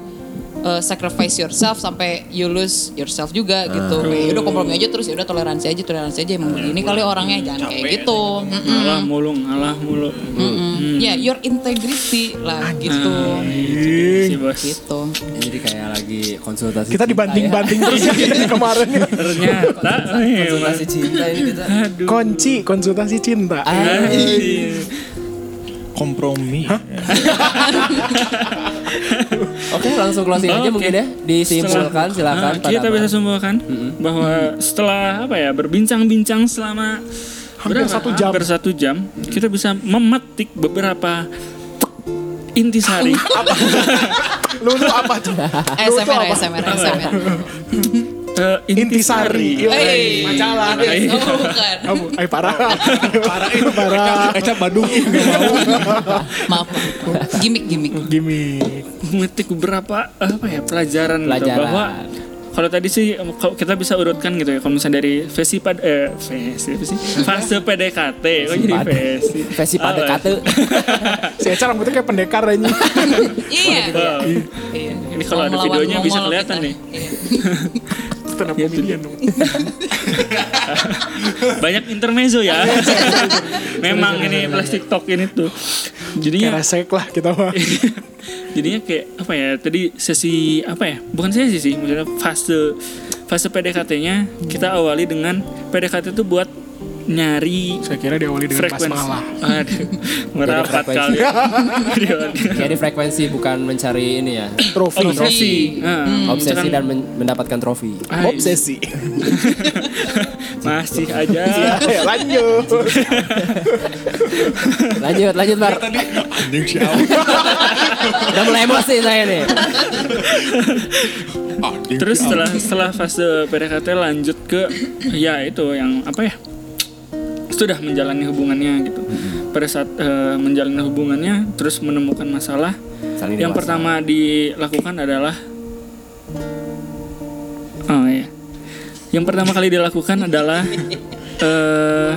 Speaker 4: eh, sacrifice yourself sampai you lose yourself juga gitu. Kayak, udah kompromi aja terus ya udah toleransi aja toleransi aja emang begini kali orangnya jangan kayak gitu. Mm-mm.
Speaker 2: ngalah mulu ngalah mulu
Speaker 4: Mm-mm. Ya your integrity lah gitu.
Speaker 2: si bos
Speaker 4: Gitu.
Speaker 1: Ini jadi kayak lagi konsultasi cinta
Speaker 3: Kita
Speaker 1: ya.
Speaker 3: dibanding-banding terus ya <laughs> kemarin. ya.
Speaker 2: ternyata eh,
Speaker 1: konsultasi cinta ini
Speaker 2: <laughs>
Speaker 1: kita
Speaker 2: aduh
Speaker 3: Kunci konsultasi cinta.
Speaker 2: eh, Anjing.
Speaker 5: kompromi.
Speaker 1: Oke langsung closing aja
Speaker 2: Oh, Oke.
Speaker 1: mungkin ya Disimpulkan silakan
Speaker 2: Nah, kita
Speaker 1: pada
Speaker 2: bisa
Speaker 1: Abang.
Speaker 2: simpulkan bahwa setelah apa ya berbincang-bincang selama
Speaker 3: Hampir satu jam.
Speaker 2: hampir satu jam, kita bisa memetik beberapa intisari
Speaker 3: Lu lu apa tuh?
Speaker 2: Nah.
Speaker 4: ASMR, ASMR,
Speaker 2: <laughs>
Speaker 4: ASMR.
Speaker 2: Eh,
Speaker 3: Intisari.
Speaker 2: intisari.
Speaker 3: Iya.
Speaker 4: Hey, majalah. Oh, bukan.
Speaker 3: Kamu, ay parah. parah itu parah.
Speaker 5: Kaca <laughs> Badung.
Speaker 4: Maaf, maaf. Gimik, gimik.
Speaker 3: Gimik.
Speaker 2: memetik beberapa apa ya pelajaran, gitu,
Speaker 1: Pelajaran.
Speaker 2: bahwa kalau tadi sih em, kalau kita bisa urutkan gitu ya kalau misalnya dari versi pad eh versi apa sih? fase PDKT kok jadi
Speaker 1: pad-
Speaker 2: versi
Speaker 1: Versi pada
Speaker 2: Apa?
Speaker 1: kata
Speaker 3: Si Eca rambutnya kayak pendekar aja.
Speaker 1: <laughs>
Speaker 4: Iya.
Speaker 2: Oh,
Speaker 4: Iya.
Speaker 2: gitu. Ini kalau ada
Speaker 4: Melawan
Speaker 2: videonya bisa
Speaker 4: Mongol
Speaker 2: kelihatan
Speaker 4: kita.
Speaker 2: nih.
Speaker 4: Iya.
Speaker 3: Stand up comedian dong.
Speaker 2: banyak intermezzo
Speaker 3: <laughs>
Speaker 2: ya memang ini plastik talk ini tuh
Speaker 3: Kayak
Speaker 2: jadinya
Speaker 3: resek lah kita mah.
Speaker 2: <laughs> jadinya kayak apa ya tadi sesi apa ya bukan sesi sih maksudnya fase fase PDKT-nya kita awali dengan PDKT itu buat nyari
Speaker 3: Saya kira diawali dengan pas
Speaker 2: frekuensi
Speaker 3: malah. <laughs>
Speaker 2: Aduh, merapat
Speaker 1: frekuensi.
Speaker 2: kali ya. <laughs> Periode.
Speaker 1: Jadi frekuensi bukan mencari ini
Speaker 2: <clears throat>
Speaker 1: ya
Speaker 3: Trofi.
Speaker 2: obsesi Nah, itu
Speaker 1: Hmm. Obsesi
Speaker 2: kan-
Speaker 1: dan men- mendapatkan trofi
Speaker 3: iya.
Speaker 2: Ay,
Speaker 3: <laughs> Obsesi.
Speaker 2: <laughs> masih aja
Speaker 1: <laughs>
Speaker 3: Ya, lanjut.
Speaker 1: Lanjut lanjut
Speaker 2: <laughs>
Speaker 1: Bar
Speaker 5: Anjing si Awe.
Speaker 1: Udah mulai emosi saya nih
Speaker 5: Anjing
Speaker 2: Terus
Speaker 5: si Awe.
Speaker 2: setelah setelah fase PDKT lanjut ke ya itu yang apa ya? Sudah menjalani hubungannya gitu. Pada saat eh, menjalani hubungannya terus menemukan masalah.
Speaker 1: Saling
Speaker 2: yang
Speaker 1: dewasa.
Speaker 2: pertama dilakukan adalah Oh iya. Yang pertama kali dilakukan adalah eh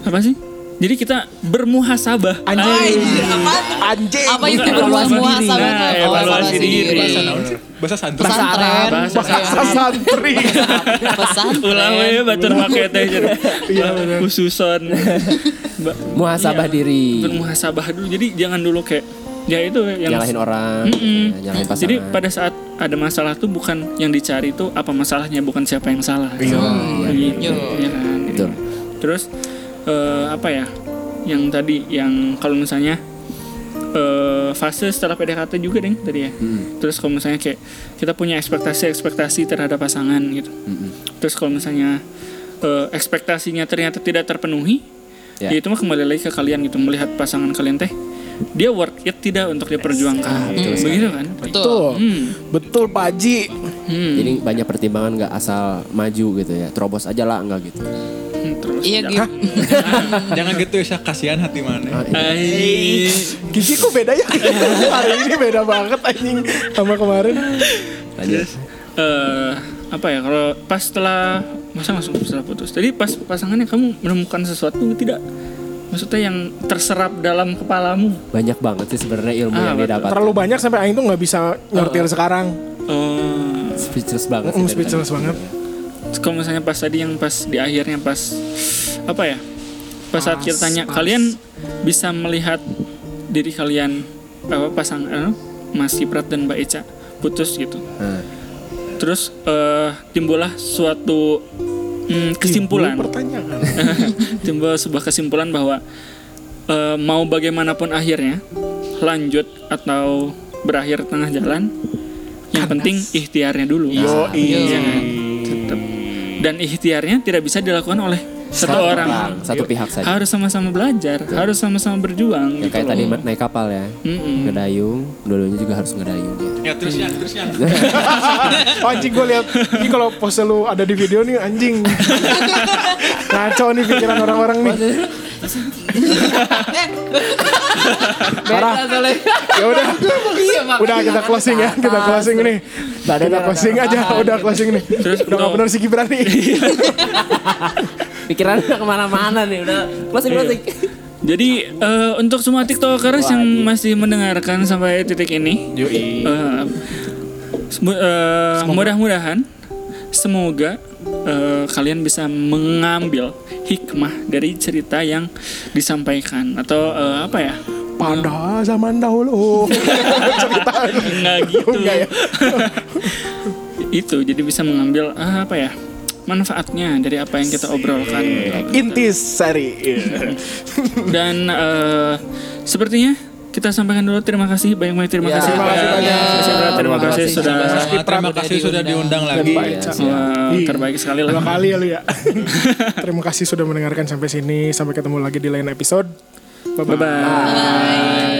Speaker 2: apa sih? Jadi kita bermuhasabah.
Speaker 3: Anjing.
Speaker 4: Apa?
Speaker 3: Anjing.
Speaker 4: Apa ya? itu
Speaker 1: Bukan
Speaker 4: berluas
Speaker 1: evaluasi diri.
Speaker 4: luas sama
Speaker 2: Nah,
Speaker 4: oh,
Speaker 2: evaluasi diri.
Speaker 4: Bahasa
Speaker 5: Bahasa santri.
Speaker 4: Pesantren.
Speaker 2: Bahasa
Speaker 3: Bahasa santri.
Speaker 4: Pesantren.
Speaker 2: Ulah we batur make teh jadi khususon. Ba-
Speaker 1: Muhasabah
Speaker 2: Iya.
Speaker 1: diri
Speaker 2: Bermuhasabah dulu. Jadi jangan dulu kayak ya itu yang
Speaker 1: Nyalahin orang ya,
Speaker 2: Mm-mm.
Speaker 1: Nyalahin pasangan
Speaker 2: Jadi pada saat ada masalah tuh bukan yang dicari tuh apa masalahnya bukan siapa yang salah. Begitu,
Speaker 4: Iya.
Speaker 2: ya kan? Jadi,
Speaker 1: Betul.
Speaker 2: Terus eh, apa ya? Yang tadi yang kalau misalnya eh, fase setelah PDKT juga deh tadi ya.
Speaker 1: Hmm.
Speaker 2: Terus kalau misalnya kayak kita punya ekspektasi-ekspektasi terhadap pasangan gitu.
Speaker 1: Hmm.
Speaker 2: Terus kalau misalnya eh, ekspektasinya ternyata tidak terpenuhi,
Speaker 1: Ya.
Speaker 2: ya itu mah kembali lagi ke kalian gitu melihat pasangan kalian teh dia worth it tidak untuk diperjuangkan. Begitu kan?
Speaker 4: Betul.
Speaker 3: Betul.
Speaker 2: Hmm.
Speaker 3: Betul Pak Haji.
Speaker 2: Hmm.
Speaker 1: Jadi banyak pertimbangan nggak asal maju gitu ya Terobos aja lah nggak gitu
Speaker 2: Hmm, Terus
Speaker 4: Iya gitu.
Speaker 5: Jangan gitu ya, Syah. kasihan hati mana.
Speaker 2: Ay.
Speaker 3: Gigi kok beda <laughs> ya? Hari ini beda banget anjing sama kemarin.
Speaker 1: Lanjut
Speaker 2: eh apa ya kalau pas setelah masa langsung setelah putus jadi pas pasangannya kamu menemukan sesuatu tidak maksudnya yang terserap dalam kepalamu
Speaker 1: Banyak banget sih sebenarnya ilmu
Speaker 2: Ah,
Speaker 1: yang
Speaker 2: betul.
Speaker 1: didapat
Speaker 3: Terlalu banyak sampai Aing tuh nggak bisa nyortir sekarang.
Speaker 2: Eh,
Speaker 1: Speechless banget
Speaker 3: Mm,
Speaker 1: dari
Speaker 3: speechless
Speaker 1: tadi.
Speaker 3: banget.
Speaker 2: kalau misalnya pas tadi yang pas di akhirnya pas apa ya pas saat kita tanya kalian bisa melihat diri kalian apa pasang eh, Mas Kiprat dan Mbak Eca putus gitu
Speaker 1: Nah,
Speaker 2: terus eh, timbullah suatu mm, kesimpulan
Speaker 3: Ini pertanyaan.
Speaker 2: <laughs> timbul sebuah kesimpulan bahwa eh, mau bagaimanapun akhirnya lanjut atau berakhir tengah jalan yang penting ikhtiarnya dulu
Speaker 3: Yo,
Speaker 2: Iya kan? Tetep. dan ikhtiarnya tidak bisa dilakukan oleh satu orang Iya.
Speaker 1: Satu pihak saja
Speaker 2: harus sama-sama belajar harus sama-sama berjuang
Speaker 1: Ya
Speaker 2: gitu
Speaker 1: kayak
Speaker 2: loh.
Speaker 1: tadi ma- naik kapal ya
Speaker 2: Mm-mm.
Speaker 1: Ngedayung Dulunya juga harus ngedayung ya.
Speaker 5: Ya terus ya, terus ya.
Speaker 3: Oh, anjing gue lihat ini kalau pose lu ada di video nih <laughs> anjing. Ngaco nih pikiran orang-orang nih. Parah. Ya udah. Udah kita closing ya, kita closing nih.
Speaker 1: Badan
Speaker 3: Kita
Speaker 1: rada
Speaker 3: closing aja, udah closing nih.
Speaker 2: Terus
Speaker 3: Udah nggak
Speaker 2: untuk-
Speaker 3: benar si Gibran
Speaker 2: <laughs>
Speaker 3: nih.
Speaker 1: Pikiran udah kemana-mana nih Udah closing closing
Speaker 2: Jadi eh, untuk semua tiktokers yang masih mendengarkan sampai titik ini, eh, Semu- eh, mudah-mudahan semoga eh, kalian bisa mengambil hikmah dari cerita yang disampaikan atau eh, apa ya?
Speaker 3: Pada zaman
Speaker 2: <laughs>
Speaker 3: dahulu.
Speaker 2: Enggak gitu.
Speaker 3: Enggak ya?
Speaker 2: <laughs> Itu jadi bisa mengambil ah, apa ya? manfaatnya dari apa yang kita obrolkan.
Speaker 3: Intisari.
Speaker 2: Dan eh, sepertinya kita sampaikan dulu terima kasih banyak-banyak terima
Speaker 1: Ya,
Speaker 2: kasih.
Speaker 1: terima
Speaker 3: kasih
Speaker 2: kepada
Speaker 3: banyak.
Speaker 2: Mas Indra, Terima
Speaker 4: Terima
Speaker 2: kasih
Speaker 4: kasih.
Speaker 2: sudah
Speaker 5: Terima, kasih sudah diundang lagi.
Speaker 1: Pak Ica.
Speaker 2: Wah, terbaik sekali lah.
Speaker 3: Dua kali ya lu
Speaker 2: <laughs>
Speaker 3: ya. Terima kasih sudah mendengarkan sampai sini. Sampai ketemu lagi di lain episode. Bye-bye.
Speaker 2: Bye-bye.
Speaker 4: Bye.